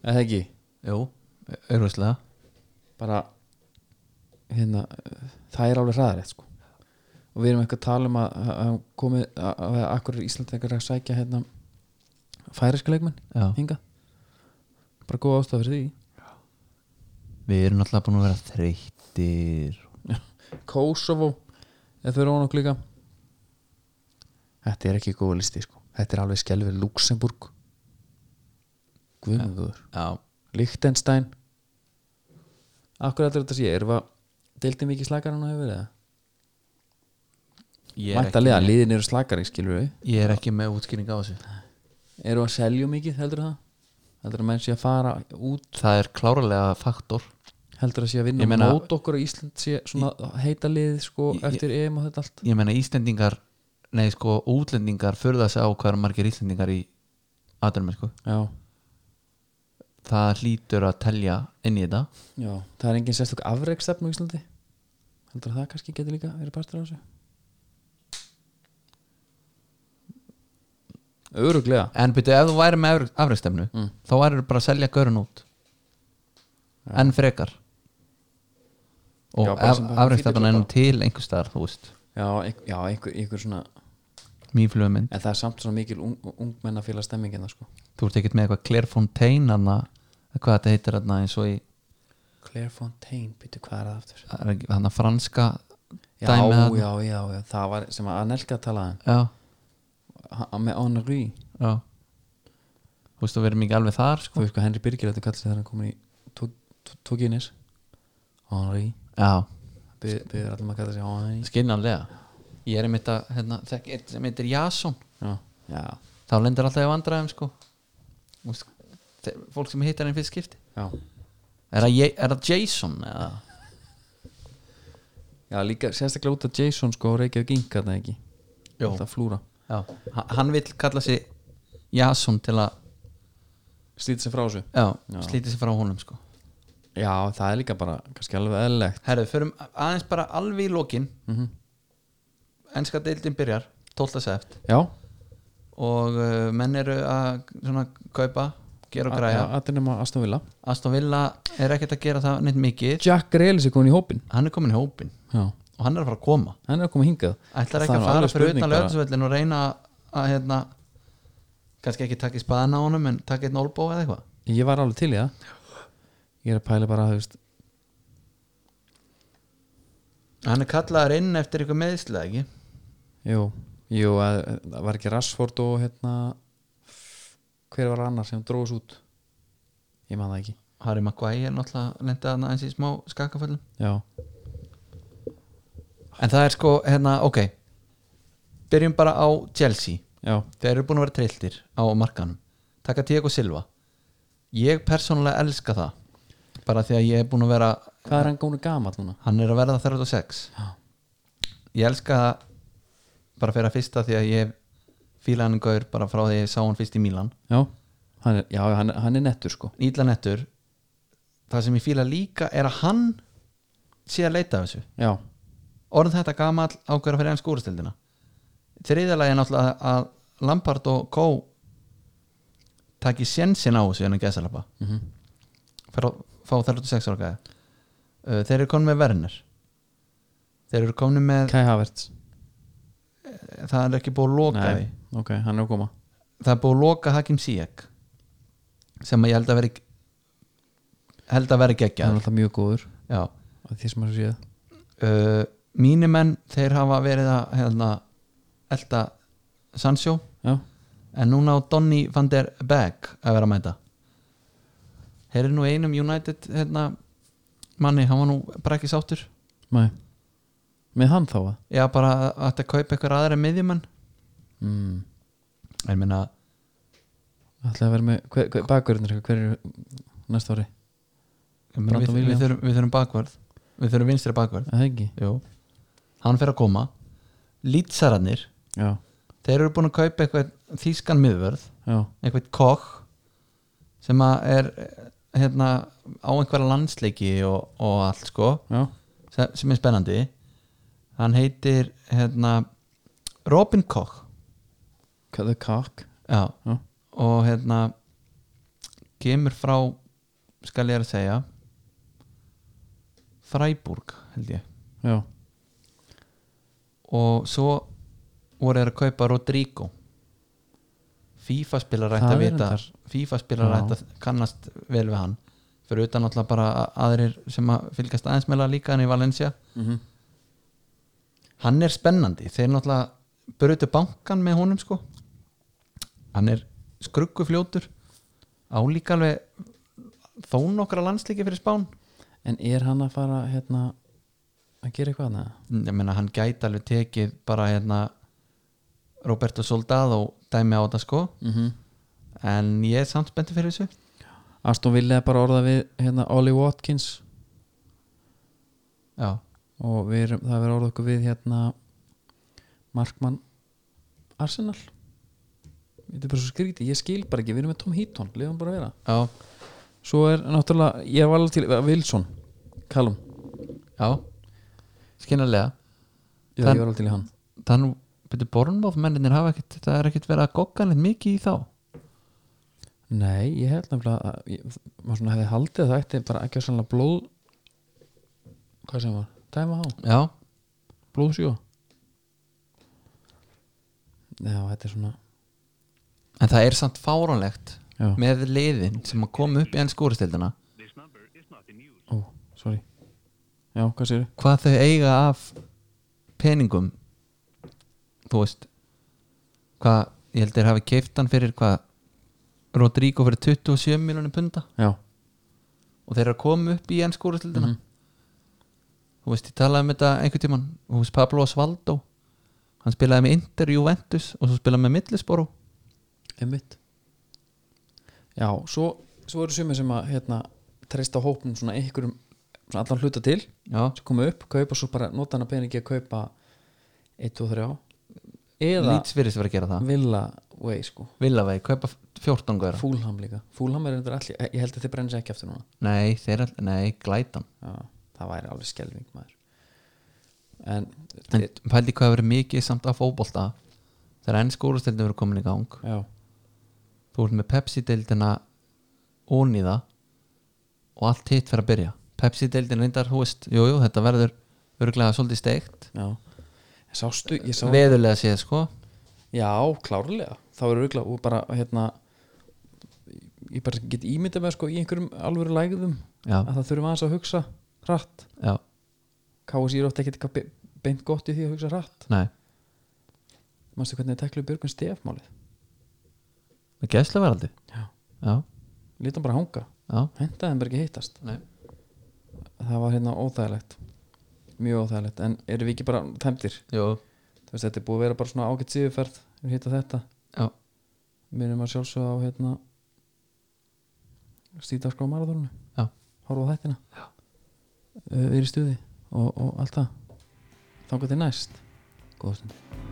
[SPEAKER 1] eða ekki
[SPEAKER 2] jú, auðvitað
[SPEAKER 1] bara hérna, það er alveg hraðarétt sko. og við erum eitthvað að tala um að, að- að komið að, að, að akkur Íslandingar að sækja hérna færiska leikmenn
[SPEAKER 2] Já,
[SPEAKER 1] hinga bara góð ástæð fyrir því
[SPEAKER 2] við erum náttúrulega búin að vera þreyttir
[SPEAKER 1] Kosovo eða fyrir ón okkur líka þetta er ekki góð listi sko. þetta er alveg skelfið Luxemburg Guðmundur
[SPEAKER 2] Já,
[SPEAKER 1] Lichtenstein Akkur heldur þetta sé, erum við að deildin mikið slakar hann að hefur verið það?
[SPEAKER 2] ég er, ekki,
[SPEAKER 1] Væntalega, liðin eru slakari, skilur við
[SPEAKER 2] ég er ekki með útskýring á þessu
[SPEAKER 1] Eru að selja mikið, heldur það? Heldur að menn sé að fara út
[SPEAKER 2] Það er klárlega faktor
[SPEAKER 1] Heldur að sé að
[SPEAKER 2] Ég
[SPEAKER 1] vinna
[SPEAKER 2] meina-
[SPEAKER 1] mót okkur og Ísland sé svona heita lið sko,
[SPEAKER 2] Ég-
[SPEAKER 1] eftir EM og þetta allt
[SPEAKER 2] Ég menna Íslendingar, nei sko útlendingar furða sig á hvað eru margir Íslendingar í aðdæmi sko
[SPEAKER 1] Já,
[SPEAKER 2] það hlýtur að telja inn í þetta
[SPEAKER 1] já, það er engin sérstök afreikstefn á Íslandi Heldur að það kannski getur líka verið partur á þessu Öruglega
[SPEAKER 2] en byrju, ef þú væri með afrækstefnu
[SPEAKER 1] Mm.
[SPEAKER 2] þá væri bara að selja görun út enn frekar
[SPEAKER 1] Já,
[SPEAKER 2] og
[SPEAKER 1] bara sem bara
[SPEAKER 2] afreikstafan
[SPEAKER 1] fítill
[SPEAKER 2] er nú
[SPEAKER 1] bara.
[SPEAKER 2] til einhvers staðar, þú veist
[SPEAKER 1] já, einhver, já einhver, einhver svona
[SPEAKER 2] mýflugumynd,
[SPEAKER 1] en það er samt svona mikil ung, ungmennafélag stemmingina sko.
[SPEAKER 2] þú ert ekkert með eitthvað Clairefontaine hann að hvað þetta heitir hann eins og í
[SPEAKER 1] Claire Fontaine, byrju hvað er það aftur
[SPEAKER 2] hann að franska
[SPEAKER 1] já,
[SPEAKER 2] Dæmi
[SPEAKER 1] já,
[SPEAKER 2] þarna.
[SPEAKER 1] já, já, það var sem að Anelka talaði
[SPEAKER 2] já,
[SPEAKER 1] hann með Henri,
[SPEAKER 2] já þú veist þú verður mikið alveg þar
[SPEAKER 1] þú
[SPEAKER 2] sko
[SPEAKER 1] veist hvað Henry Birgir þetta kallar þegar hann komin í Tó- Tó- Tókinis Henri,
[SPEAKER 2] já,
[SPEAKER 1] byrður allir maður að kalla sig Henri
[SPEAKER 2] skinnanlega ég er einmitt að, hérna, þekk eitt sem heitir Jason
[SPEAKER 1] já, já,
[SPEAKER 2] þá lendir alltaf í vandræðum sko Þú veist, þe- fólk sem hittar einn fyrst skipti
[SPEAKER 1] já
[SPEAKER 2] er það, Je- er það Jason eða
[SPEAKER 1] já, líka sérstaklega út að Jason sko Reykjavík Inga þetta ekki
[SPEAKER 2] Jó.
[SPEAKER 1] þetta flúra
[SPEAKER 2] já, hann- hann vill kalla sig Jason til að
[SPEAKER 1] slítið sem frá þessu
[SPEAKER 2] já,
[SPEAKER 1] Já.
[SPEAKER 2] slíti sig frá honum sko
[SPEAKER 1] já, það er líka bara kannski alveg eðlilegt
[SPEAKER 2] herru, förum a- aðeins bara alveg í lokin enska deildin byrjar 12. sept
[SPEAKER 1] já,
[SPEAKER 2] og uh, menn eru að svona
[SPEAKER 1] Ah,
[SPEAKER 2] kaupa, gera og græja
[SPEAKER 1] þetta er nema Aston Villa
[SPEAKER 2] Aston Villa er ekkert að gera það neitt mikið
[SPEAKER 1] Jack Grealis er komin í hópin
[SPEAKER 2] hann er komin í hópin
[SPEAKER 1] já,
[SPEAKER 2] og hann er að fara að koma
[SPEAKER 1] hann er að koma hingað Það
[SPEAKER 2] ætlar ekki
[SPEAKER 1] er
[SPEAKER 2] að
[SPEAKER 1] nú
[SPEAKER 2] fara
[SPEAKER 1] alveg
[SPEAKER 2] fyrir
[SPEAKER 1] spurning
[SPEAKER 2] utan
[SPEAKER 1] bara.
[SPEAKER 2] lögðsvöllin og reyna að hérna, kannski ekki taka í spaðan á honum en taka eitt nólbó eða eitthvað
[SPEAKER 1] Ég var alveg til í það Ég er að pæla bara, þú veist
[SPEAKER 2] hann er kallaður inn eftir eitthvað meðislega ekki
[SPEAKER 1] Jú, jú, að- það var ekki Rashford og hérna Hver var annar sem dróðs út Ég man það ekki
[SPEAKER 2] Harry Maguire náttúrulega lendi hann aðeins í smá skakaföllum
[SPEAKER 1] Já,
[SPEAKER 2] en það er sko hérna ok byrjum bara á Chelsea
[SPEAKER 1] já,
[SPEAKER 2] þeir eru búin að vera trilltir á markanum taka Diego Silva ég persónulega elska það bara því að ég er búin að vera
[SPEAKER 1] hvað er hann gónu gamall núna?
[SPEAKER 2] hann er að verða 36
[SPEAKER 1] Já.
[SPEAKER 2] ég elska það bara fyrir að fyrsta því að ég fíla hann gaur bara frá því að ég sá hann fyrst í Mílan
[SPEAKER 1] Já, hann er, já, hann, hann er nettur sko
[SPEAKER 2] ítla nettur það sem ég fíla líka er að hann sé að leita af þessu
[SPEAKER 1] Já,
[SPEAKER 2] orðin þetta gamall ákveður að fyrir enn skúrastildina þriðalagi er náttúrulega að Lampard og Kó taki sjensin á þessu ennum gæsalapa mm
[SPEAKER 1] mhm.
[SPEAKER 2] -hmm. fyrir að fá 36 ára gæði Uh, þeir eru komin með Werner þeir eru komin með
[SPEAKER 1] Kai Havertz
[SPEAKER 2] það er ekki búið að loka því
[SPEAKER 1] Nei, ok, hann er að koma
[SPEAKER 2] það er búið að loka Hakim Ziyech sem að ég held að veri held að veri
[SPEAKER 1] Hann er
[SPEAKER 2] geggjaður
[SPEAKER 1] alltaf mjög góður
[SPEAKER 2] já
[SPEAKER 1] að Því sem hann séð
[SPEAKER 2] uh, mínimenn þeir hafa verið að hérna, elda Sancho
[SPEAKER 1] Já,
[SPEAKER 2] en núna á Donny van der Beek að vera að mæta þeir eru nú einum United hérna, manni, hann var nú bara ekki sáttur
[SPEAKER 1] mæ Með hann þá að
[SPEAKER 2] já bara að þetta kaupa eitthvað aðra miðjumenn
[SPEAKER 1] mm.
[SPEAKER 2] ég meina
[SPEAKER 1] Ætlaði að vera með, hver, hver, bakverðinir hver eru næsta ári?
[SPEAKER 2] ég meina, við,
[SPEAKER 1] Brandon
[SPEAKER 2] við,
[SPEAKER 1] Williams.
[SPEAKER 2] þurfum, við þurfum bakvörð við þurfum vinstri bakvörð
[SPEAKER 1] Er Það ekki?
[SPEAKER 2] Jú. hann fer að koma lýtsararnir,
[SPEAKER 1] Já,
[SPEAKER 2] þeir eru búin að kaupa eitthvað þýskan miðvörð,
[SPEAKER 1] já
[SPEAKER 2] eitthvað kokk sem að er eh, hérna, á einhverja landsleiki og, og allt sko
[SPEAKER 1] Já,
[SPEAKER 2] sem, sem er spennandi hann heitir hérna, Robin Koch
[SPEAKER 1] Cut the cock
[SPEAKER 2] já.
[SPEAKER 1] Já.
[SPEAKER 2] og hérna kemur frá skal ég að segja Freiburg held ég
[SPEAKER 1] Já,
[SPEAKER 2] og svo voru þeir að kaupa Rodrigo FIFA spilar ætti
[SPEAKER 1] Það
[SPEAKER 2] að
[SPEAKER 1] er
[SPEAKER 2] vita
[SPEAKER 1] reyndar.
[SPEAKER 2] FIFA spilar
[SPEAKER 1] Já.
[SPEAKER 2] ætti að kannast vel við hann fyrir utan alltaf bara a- aðrir sem að fylgjast aðeins meðla líka hann í Valencia hann er spennandi þeir náttúrulega brutu bankan með honum sko hann er skruggufljótur álíka alveg þó nokkra landslíki fyrir spán
[SPEAKER 1] en er hann að fara hérna að gera eitthvað annað?
[SPEAKER 2] ég meina hann gæti alveg tekið bara hérna Roberto Soldado dæmi á þetta sko
[SPEAKER 1] Mm -hmm.
[SPEAKER 2] en ég er samt spennti fyrir þessu
[SPEAKER 1] Aston Villa er bara orða við hérna Ollie Watkins
[SPEAKER 2] já,
[SPEAKER 1] og við erum, það verður orða okkur við hérna Markmann Arsenal Þetta er bara svo skrítið, ég skil bara ekki, við erum með Tom Heaton, lefum bara að vera
[SPEAKER 2] já,
[SPEAKER 1] Svo er náttúrulega, ég var alveg til eh, Wilson, Callum
[SPEAKER 2] já skinnarlega
[SPEAKER 1] Já,
[SPEAKER 2] Þann-
[SPEAKER 1] ég var alveg til í hann
[SPEAKER 2] þannig betur Bornbóf menninir hafa ekkit það er ekkit verið að gogga neitt mikið í þá
[SPEAKER 1] Nei, ég held nefnilega að ég, maður svona hefði haldið að það ætti bara ekki að sannlega blóð hvað sem var, dæma há,
[SPEAKER 2] já,
[SPEAKER 1] blóðsjó já, þetta er svona
[SPEAKER 2] en það er samt fáránlegt
[SPEAKER 1] já,
[SPEAKER 2] með liðin sem að koma upp í enn skóristildina
[SPEAKER 1] ó, sorry já, hvað sér
[SPEAKER 2] hvað þau eiga af peningum þú veist hvað, ég held þeir hafi keift hann fyrir hvað Rodrigo fyrir 27 miljonum punda
[SPEAKER 1] já,
[SPEAKER 2] og þeir eru að koma upp í enn skóristildina þú veist, ég talaði um þetta einhvern tímann þú veist, Pablo Osvaldo hann spilaði með Inter, Juventus og svo spilaði með Middlesboro
[SPEAKER 1] einmitt já, svo, svo eru sumir sem að hérna, treysta hópnum svona einhverjum svona allan hluta til,
[SPEAKER 2] já,
[SPEAKER 1] sem koma upp kaupa svo bara nota hana peningi að kaupa 1 og 3 eða
[SPEAKER 2] Leeds virðist verið að gera það
[SPEAKER 1] Villa Way sko,
[SPEAKER 2] Villavegi, kaupa 14 góðra
[SPEAKER 1] Fúlham líka Fúlham er þetta allir, ég held að þið brennir sér ekki eftir núna
[SPEAKER 2] Nei, þeir er, nei, glætan
[SPEAKER 1] já, það væri alveg skelving maður en,
[SPEAKER 2] En pældi hvað hefur verið mikið samt af fótbolta Þegar enn skórastildin verið komin í gang
[SPEAKER 1] já,
[SPEAKER 2] Þú ert með Pepsi-deildina Ónýða Og allt hitt fyrir að byrja Pepsi-deildin reyndar, þú veist, jú, jú, þetta verður Örglega svolítið steikt
[SPEAKER 1] já En sástu, ég sá,
[SPEAKER 2] Veðurlega séð, sko
[SPEAKER 1] já, klárlega þá eru auðvitað og bara hérna ég bara get ímyndað með sko í einhverjum alvöru lægðum
[SPEAKER 2] Já,
[SPEAKER 1] að það þurfum aðeins að hugsa hratt
[SPEAKER 2] já,
[SPEAKER 1] Káus ég rátt ekki eitthvað be- beint gott í því að hugsa hratt
[SPEAKER 2] nei
[SPEAKER 1] manstu hvernig það tekluðu Björgun Stefmálið
[SPEAKER 2] Með gæsla veraldi
[SPEAKER 1] Já.
[SPEAKER 2] já,
[SPEAKER 1] lítum bara hanga,
[SPEAKER 2] já,
[SPEAKER 1] hendaði þeim bara ekki hittast
[SPEAKER 2] nei
[SPEAKER 1] það var hérna óþægilegt mjög óþægilegt, en eru við ekki bara tæmdir
[SPEAKER 2] Jú,
[SPEAKER 1] þú veist, þetta er búið að vera bara svona ágætt síðuferð við hitta þetta
[SPEAKER 2] Já.
[SPEAKER 1] minnum að sjálfsögða á hérna stíðdagskrá marathónu
[SPEAKER 2] Já.
[SPEAKER 1] horfa á þættina uh, við erum í stuði og, og allt það þá til næst góða stund